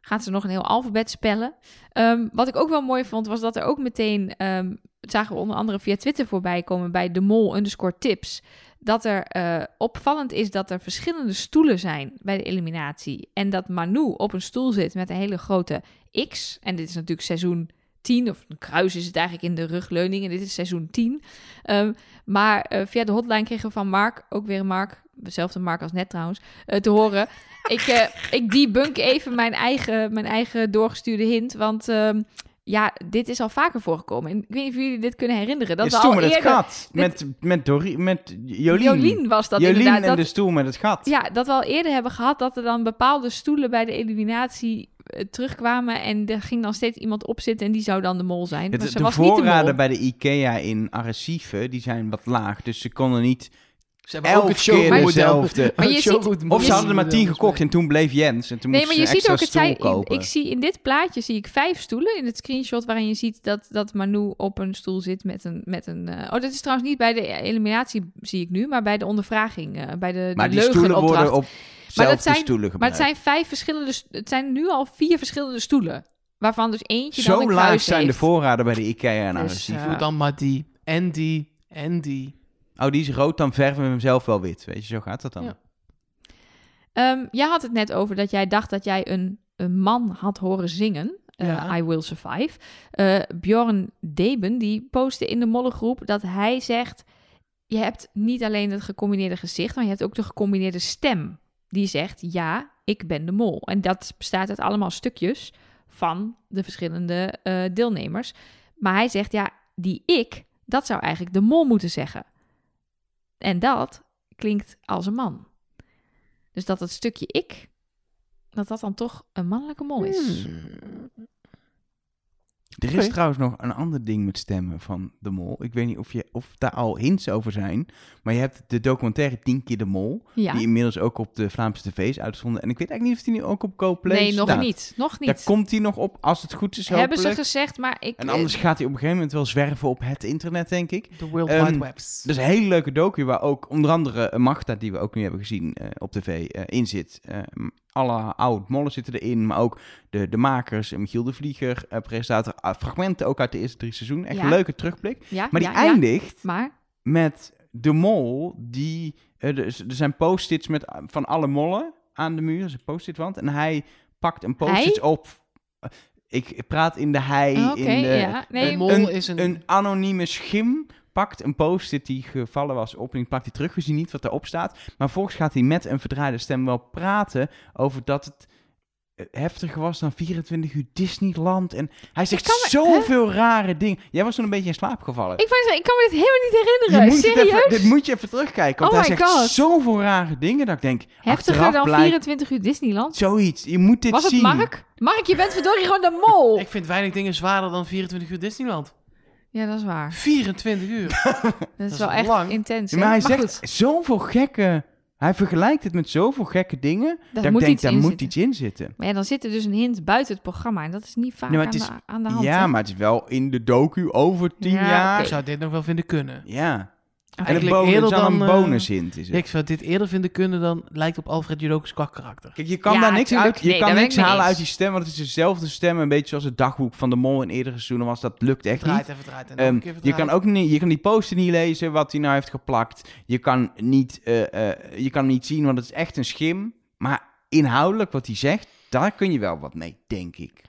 gaat ze nog een heel alfabet spellen. Ehm, wat ik ook wel mooi vond, was dat er ook meteen... ehm, dat zagen we onder andere via Twitter voorbij komen bij de mol underscore tips... dat er eh, opvallend is dat er verschillende stoelen zijn bij de eliminatie. En dat Manu op een stoel zit met een hele grote X. En dit is natuurlijk seizoen 10, of een kruis is het eigenlijk in de rugleuning. En dit is seizoen 10. Ehm, maar eh, via de hotline kregen we van Mark, ook weer Mark, dezelfde Mark als net trouwens, eh, te horen. ik, eh ik debunk even mijn eigen, mijn eigen doorgestuurde hint, want... ehm, ja, dit is al vaker voorgekomen. En ik weet niet of jullie dit kunnen herinneren. Dat is we stoel al met het eerder... gat. Met, met, Dori, met Jolien. Jolien was dat Jolien en inderdaad. dat- de stoel met het gat. ja, dat we al eerder hebben gehad dat er dan bepaalde stoelen bij de eliminatie eh, terugkwamen. En er ging dan steeds iemand op zitten en die zou dan de mol zijn. Het- maar ze de was niet de voorraden mol. bij de IKEA in Arrecife die zijn wat laag. Dus ze konden niet Ze hebben ook het elf keer showgoed. dezelfde. Maar je Het ziet- showgoed Of moet- ze hadden er maar tien gekocht en toen bleef Jens. En toen Nee, maar moesten ze je ziet extra ook, het stoel zij, in, kopen. ik zie in dit plaatje zie ik vijf stoelen. In het screenshot waarin je ziet dat, dat Manu op een stoel zit met een... Met een eh, oh, dat is trouwens niet bij de eliminatie zie ik nu, maar bij de ondervraging. eh, bij de, de maar die stoelen leugenopdracht. worden op zelfde zijn- stoelen Maar gebruikt. het zijn vijf verschillende... st- Het zijn nu al vier verschillende stoelen. Waarvan dus eentje dan Zo een laag kruis zijn de heeft. voorraden bij de Ikea en Dus, Arecibo. eh, Doe dan maar die. En die. En die. Oh, die is rood, dan verven we hem zelf wel wit. Weet je, zo gaat dat dan. Ja. Ehm, jij had het net over dat jij dacht dat jij een, een man had horen zingen. eh, Ja. I Will Survive. Eh Bjorn Deben, die postte in de mollengroep dat hij zegt... Je hebt niet alleen het gecombineerde gezicht, maar je hebt ook de gecombineerde stem. Die zegt, ja, ik ben de mol. En dat bestaat uit allemaal stukjes van de verschillende eh, deelnemers. Maar hij zegt, ja, die ik, dat zou eigenlijk de mol moeten zeggen. En dat klinkt als een man. Dus dat het stukje ik, dat dat dan toch een mannelijke mol is. Hmm. Er is Oké. trouwens nog een ander ding met stemmen van De Mol. Ik weet niet of, je, of daar al hints over zijn. Maar je hebt de documentaire 10 keer De Mol. Ja. Die inmiddels ook op de Vlaamse tv's uitzonden. En ik weet eigenlijk niet of die nu ook op GoPlay nee, nog staat. niet. Nog Daar niet. komt die nog op, als het goed is. Hebben ze hopelijk. gezegd, maar ik... En anders eh, gaat hij op een gegeven moment wel zwerven op het internet, denk ik. De World Ehm, Wide Webs. Dat is een hele leuke docu waar ook onder andere eh, Magda, die we ook nu hebben gezien eh, op tv, eh, in zit. Eh, alle oud-mollen zitten erin, maar ook de, de makers, eh, Michiel de Vlieger, eh, presentator. ah, fragmenten ook uit de eerste drie seizoenen. Echt Ja. een leuke terugblik. ja, Maar die ja, ja. eindigt Maar, met de mol die... eh, er is- er zijn post-its met, ah, van alle mollen aan de muur, dat is een post-it-wand. En hij pakt een post-it op... eh, Ik ik praat in de hij, Oh, oké, in de, ja. Nee, de mol een- is een... een anonieme schim pakt een post-it die gevallen was op en die pakt hij terug. We zien niet wat erop staat. Maar volgens gaat hij met een verdraaide stem wel praten over dat het eh, heftiger was dan 24 uur Disneyland. En hij zegt kan me- zoveel rare dingen. Jij was toen een beetje in slaap gevallen. ik, wou zeggen, ik kan me dit helemaal niet herinneren. Je moet het Serieus? even, dit moet je even terugkijken. Want Oh hij my zegt God. zoveel rare dingen dat ik denk... Heftiger achteraf dan blijkt 24 uur Disneyland? Zoiets. Je moet dit Was het zien. Mark? Mark, je bent verdorie gewoon de mol. Ik vind weinig dingen zwaarder dan 24 uur Disneyland. Ja, dat is waar. 24 uur. Dat is is wel echt lang. intens. Ja, hè? maar hij maar zegt goed, zoveel gekke... Hij vergelijkt het met zoveel gekke dingen... daar Dat moet ik denk, iets daar in moet zitten. iets in zitten. Maar ja, dan zit er dus een hint buiten het programma. En dat is niet vaak Nee, maar aan, het de, is- aan de hand. ja, hè? maar het is wel in de docu over tien Ja, jaar. Ik zou dit nog wel vinden kunnen. Ja. En een Eigenlijk bonus, eerder het is wel dan, een eh, bonus hint is het. Ik zou dit eerder vinden kunnen dan lijkt op Alfred Judokus qua karakter. Kijk, je kan Ja, daar niks tuurlijk. uit. Je Nee, kan daar ben ik niks mee halen eens. uit die stem, want het is dezelfde stem, een beetje zoals het dagboek van de mol in eerdere seizoenen was. Dat lukt echt niet. Draait even, draait en nog Ehm, een keer je verdraait. kan ook niet, je kan die poster niet lezen wat hij nou heeft geplakt. Je kan niet, eh, eh, je kan hem niet zien, want het is echt een schim. Maar inhoudelijk wat hij zegt, daar kun je wel wat mee, denk ik.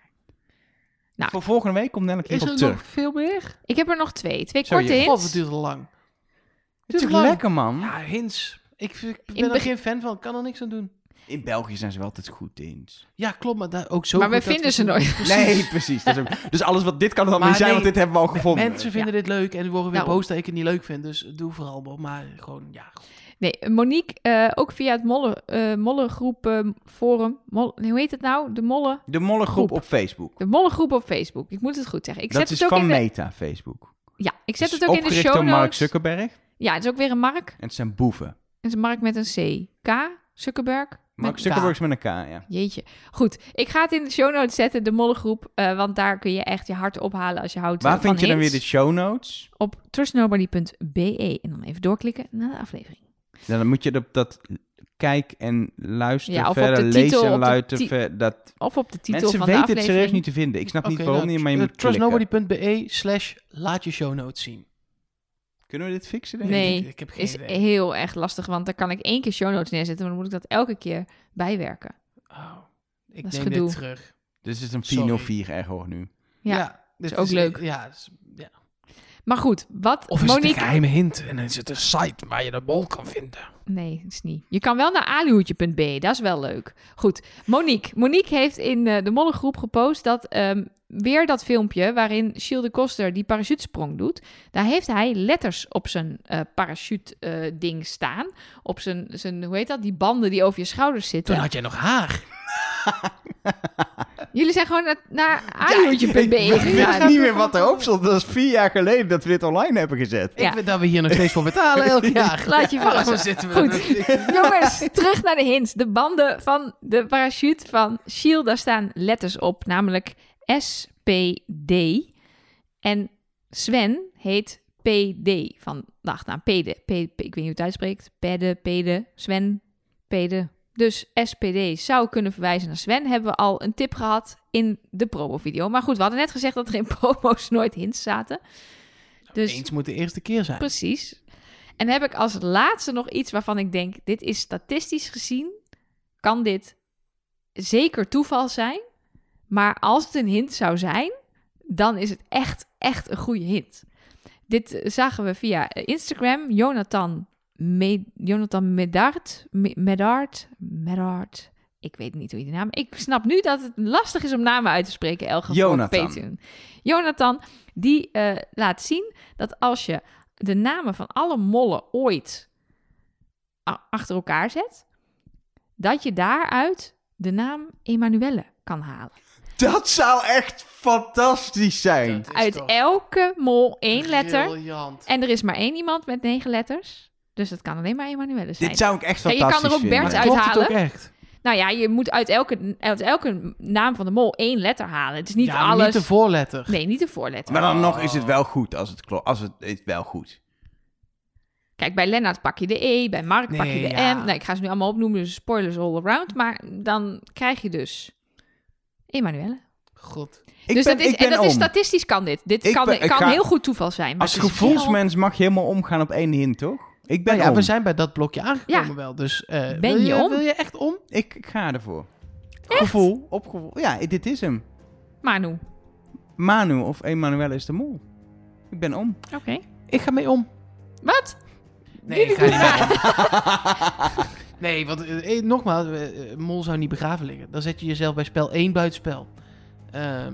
Nou. Voor volgende week komt Nelleke Is hierop er terug. nog veel meer? Ik heb er nog twee. Twee Zo, je- korte God, het hints. duurt al lang. Het is Tuurlijk. toch lekker, man? Ja, hints. Ik, vind- ik In ben er beg- geen fan van. Ik kan er niks aan doen. In In België zijn ze wel altijd goed in. Ja, klopt, maar daar ook zo Maar goed we dat vinden ze doen. nooit. Nee, precies. Dat is ook- dus alles wat dit kan er dan Maar mee zijn, nee, want dit hebben we al gevonden. Mensen vinden dit leuk en die worden weer Daarom. boos dat ik het niet leuk vind. Dus doe vooral maar, maar gewoon, ja. goed. Nee, Monique, eh, ook via het Molle, eh Mollengroep eh, Forum. Mol- nee, hoe heet het nou? De Molle, De mollengroep Groep. op Facebook. de Mollengroep op Facebook. Ik moet het goed zeggen. Ik dat zet is het ook van in de, Meta, Facebook. Ja, ik zet Dus het ook in de opgericht show notes. door Mark Zuckerberg. Ja, het is ook weer een Mark. En het zijn boeven. Het is een Mark met een C. K. Zuckerberg. Mark K. Zuckerberg is met een K, ja. Jeetje. Goed, ik ga het in de show notes zetten, de Mollengroep. eh, want daar kun je echt je hart ophalen als je houdt eh, Waar van vind je dan weer hints. de show notes? Op trustnobody.be. E En dan even doorklikken naar de aflevering. Nou, dan moet je op dat kijk en luister Ja, of op de verder, titel, lezen op en de luisteren. ti- ver- dat... Of op de titel Mensen van weten de het aflevering. serieus niet te vinden. Ik snap Oké, niet waarom nou, niet, maar je eh, moet klikken. Trustnobody.be slash laat je show notes zien. Kunnen we dit fixen? denk ik? Nee, ik, ik heb geen is idee. heel erg lastig, want dan kan ik één keer show notes neerzetten, maar dan moet ik dat elke keer bijwerken. Oh, ik Dat is neem gedoe. dit terug. Dus het is een Sorry. 404 ergo nu. Ja, dit is ook leuk. Ja, is- ja. Maar goed, wat Of is Monique... het een geheime hint en dan is het een site waar je de bol kan vinden. Nee, dat is niet. Je kan wel naar alihoedje.be, dat is wel leuk. Goed, Monique. Monique heeft in eh, de Mollengroep gepost dat ehm, weer dat filmpje waarin Shield de Koster die parachutesprong doet. Daar heeft hij letters op zijn eh, parachute eh, ding staan. Op zijn, zijn, hoe heet dat, die banden die over je schouders Toen zitten. had jij nog haar. Jullie zijn gewoon naar, naar ajoertje.be Ik weet gegaan. niet meer wat erop stond. Dat is vier jaar geleden dat we dit online hebben gezet. Ik Ja. weet dat we hier nog steeds voor betalen elk jaar. Laat je Waarom verrassen. zitten we Goed. er nog- Jongens, terug naar de hint. De banden van de parachute van Shield, daar staan letters op, namelijk SPD. En Sven heet PD van de achternaam. Pede, Pede, ik weet niet hoe je het uitspreekt. Pede, Pede, Sven, Pede. Dus SPD zou kunnen verwijzen naar Sven. Hebben we al een tip gehad in de promo-video. Maar goed, we hadden net gezegd dat er in promo's nooit hints zaten. Dus Eens moet de eerste keer zijn. Precies. En heb ik als laatste nog iets waarvan ik denk: dit is statistisch gezien, kan dit zeker toeval zijn. Maar als het een hint zou zijn, dan is het echt, echt een goede hint. Dit eh, zagen we via eh, Instagram. Jonathan, Me Jonathan Medard, Me- Medard, Medard. Ik weet niet hoe je de naam... Ik snap nu dat het lastig is om namen uit te spreken, Elga. Jonathan. Patreon. Jonathan, die eh, laat zien dat als je de namen van alle mollen ooit a- achter elkaar zet, dat je daaruit de naam Emanuelle kan halen. Dat zou echt fantastisch zijn. Uit elke mol één letter. Briljant. En er is maar één iemand met negen letters. Dus dat kan alleen maar Emanuelle zijn. Dit zou ik echt Ja, je kan fantastisch er ook vinden. Bert uit- Klopt het uithalen. ook echt? Nou ja, je moet uit elke, uit elke naam van de mol één letter halen. Het is niet ja, maar alles. niet de voorletter. Nee, niet de voorletter. Maar dan nog is het wel goed als het klopt. Als het is wel goed. Kijk, bij Lennart pak je de E, bij Mark pak je Nee, de ja. M. Nou, ik ga ze nu allemaal opnoemen, dus spoilers all around. Maar dan krijg je dus Emanuelle. Goed. Ik dus ben, dat is, ik ben en dat is om. statistisch kan dit. Dit Ik kan, ben- ik kan ga- heel goed toeval zijn. maar Als het is wel- gevoelsmens mag je helemaal omgaan op één hint, toch? Ik ben Nou ja, om. we zijn bij dat blokje aangekomen Ja. wel. Dus eh, Ben wil je om? Wil je echt om? Ik, ik ga ervoor. Gevoel, op gevoel. Ja, dit is hem. Manu. Manu of Emanuele is de mol. Ik ben om. Oké. Ik ga mee om. Wat? Nee, ik ga niet mee om. Nee, want eh, eh, nogmaals, eh, eh, Mol zou niet begraven liggen. Dan zet je jezelf bij spel 1 buitenspel. Ehm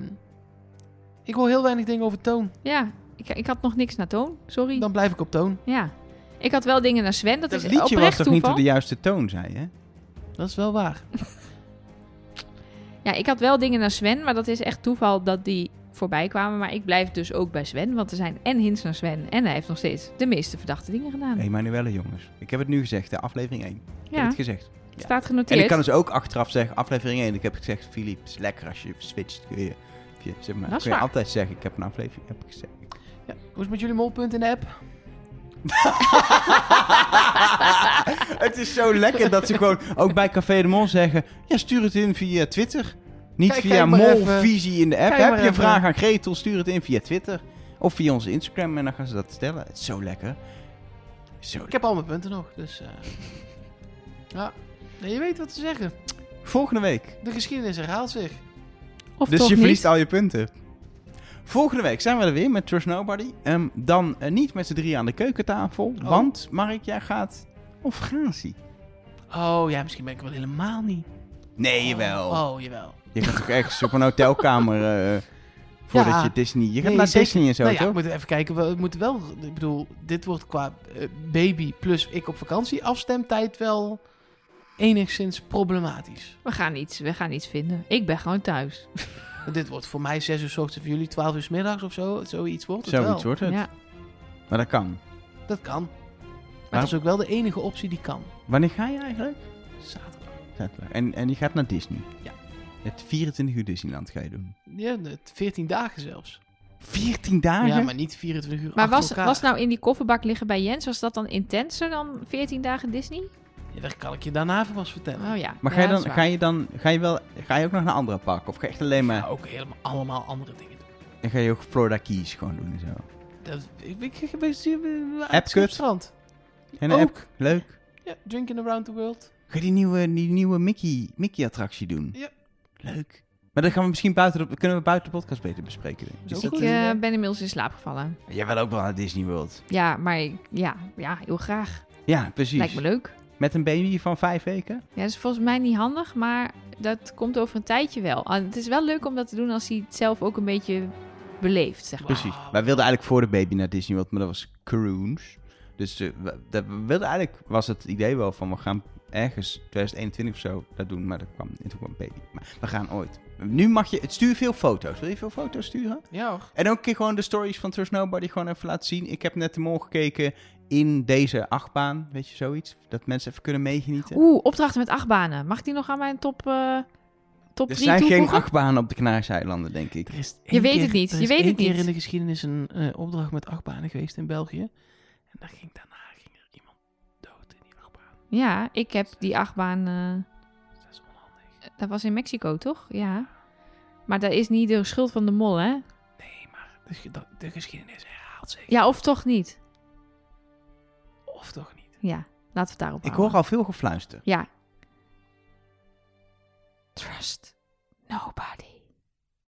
ik hoor heel weinig dingen over toon. Ja, ik, ik had nog niks naar Toon. Sorry. Dan blijf ik op toon. Ja. Ik had wel dingen naar Sven. Dat, Dat is liedje was oprecht toch niet toeval. op de juiste toon, zei je? Dat is wel waar. Ja, ik had wel dingen naar Sven, maar dat is echt toeval dat die voorbij kwamen. Maar ik blijf dus ook bij Sven, want er zijn en hints naar Sven. En hij heeft nog steeds de meeste verdachte dingen gedaan. Emanuele, jongens. Ik heb het nu gezegd, de aflevering 1. Ik heb ja, het gezegd. het staat En genoteerd. ik kan dus ook achteraf zeggen, aflevering 1. Ik heb gezegd, Filip, is lekker als je switcht. Kun je, kun je- zeg maar, Dat is kun je waar. altijd zeggen, ik heb een aflevering heb ik gezegd. Ja, hoe is het met jullie molpunt in de app? het is zo lekker dat ze gewoon ook bij Café de Mol zeggen... Ja, stuur het in via Twitter. Niet Kijk- via kijk maar even. Molvisie in de app. Kijk maar Heb je een even. vraag aan Gretel, stuur het in via Twitter. Of via onze Instagram en dan gaan ze dat stellen. Het is zo lekker. Zo Ik heb al mijn punten nog, dus... eh, ja, Nee, je weet wat te zeggen. lekker. Volgende week. De geschiedenis herhaalt zich. Of dus toch je niet? verliest al je punten. Volgende week zijn we er weer met Trust Nobody. Ehm, dan eh, niet met z'n drie aan de keukentafel. Oh. Want Mark, jij gaat... Of Gratie? Oh ja, misschien ben ik er wel helemaal niet. Nee, jawel. Oh, oh, jawel. Je gaat toch ergens op een hotelkamer... eh, voordat Ja. je Disney... Je gaat Nee, naar zeker. Disney en zo, nou ja, toch? we moeten even kijken. We moeten wel... Ik bedoel, dit wordt qua eh, baby plus ik op vakantie afstemtijd wel enigszins problematisch. We gaan iets, we gaan iets vinden. Ik ben gewoon thuis. Want dit wordt voor mij 6 uur s ochtends, voor jullie 12 uur s middags of zo. Zoiets wordt het Zoiets wel. wordt het. Ja. Maar dat kan. Dat kan. Maar Waarom- dat is ook wel de enige optie die kan. Wanneer ga je eigenlijk? Zaterdag. Zaterdag. En, en je gaat naar Disney. Ja. Het 24 uur Disneyland ga je doen. Ja, net 14 dagen zelfs. 14 dagen? Ja, maar niet 24 uur Maar achter was, elkaar. was nou in die kofferbak liggen bij Jens, was dat dan intenser dan 14 dagen Disney? Ja, dat kan ik je daarna even pas vertellen. Oh ja. Maar ga je Ja, dat dan, is ga waar. je dan, ga je wel, ga je ook nog naar een andere park? Of ga je echt alleen Maar maar, ook helemaal allemaal andere dingen doen. en ga je ook Florida Keys gewoon doen en zo? Dat, ik ik- ik- ik- ik- Epcot? op het strand. En Ook. app- leuk. Ja, drinking around the world. Ga je die nieuwe, die nieuwe Mickey, Mickey attractie doen? Ja. Leuk. Maar dan gaan we misschien buiten, de, kunnen we buiten de podcast beter bespreken. denk ik. Is Ik ook eh, een idee. ben inmiddels in slaap gevallen. Jij wil ook wel naar Disney World. Ja, maar ik- ja, ja, heel graag. Ja, precies. Lijkt me leuk. Met een baby van vijf weken? Ja, dat is volgens mij niet handig, maar dat komt over een tijdje wel. Ah, het is wel leuk om dat te doen als hij het zelf ook een beetje beleeft, zeg maar. Precies. Wij wilden eigenlijk voor de baby naar Disney World, maar dat was Croons. Dus eh, we, dat, we wilden eigenlijk, was het idee wel van we gaan ergens 2021 of zo dat doen, maar dat kwam, en toen kwam baby. Maar we gaan ooit. Nu mag je... Het stuur veel foto's. Wil je veel foto's sturen? Ja hoor. En ook een keer gewoon de stories van Trust Nobody gewoon even laten zien. Ik heb net de mol gekeken in deze achtbaan. Weet je, zoiets. Dat mensen even kunnen meegenieten. Oeh, opdrachten met achtbanen. Mag die nog aan mijn top, eh top er 3 zijn geen toevoegen? achtbanen op de Canarische eilanden, denk ik. Er is Je één weet het keer- niet, er je is weet één het keer niet. in de geschiedenis een eh, opdracht met achtbanen geweest in België. En daar ging, daarna ging er iemand dood in die achtbaan. Ja, ik heb die achtbaan... eh, Dat is onhandig. dat was in Mexico, toch? Ja. Maar dat is niet de schuld van de mol, hè? Nee, maar de, ge- dat- de geschiedenis herhaalt zich. Ja, of toch niet? Of toch niet? Ja, laten we het daarop Ik hoor houden. al veel gefluister. Ja. Trust nobody.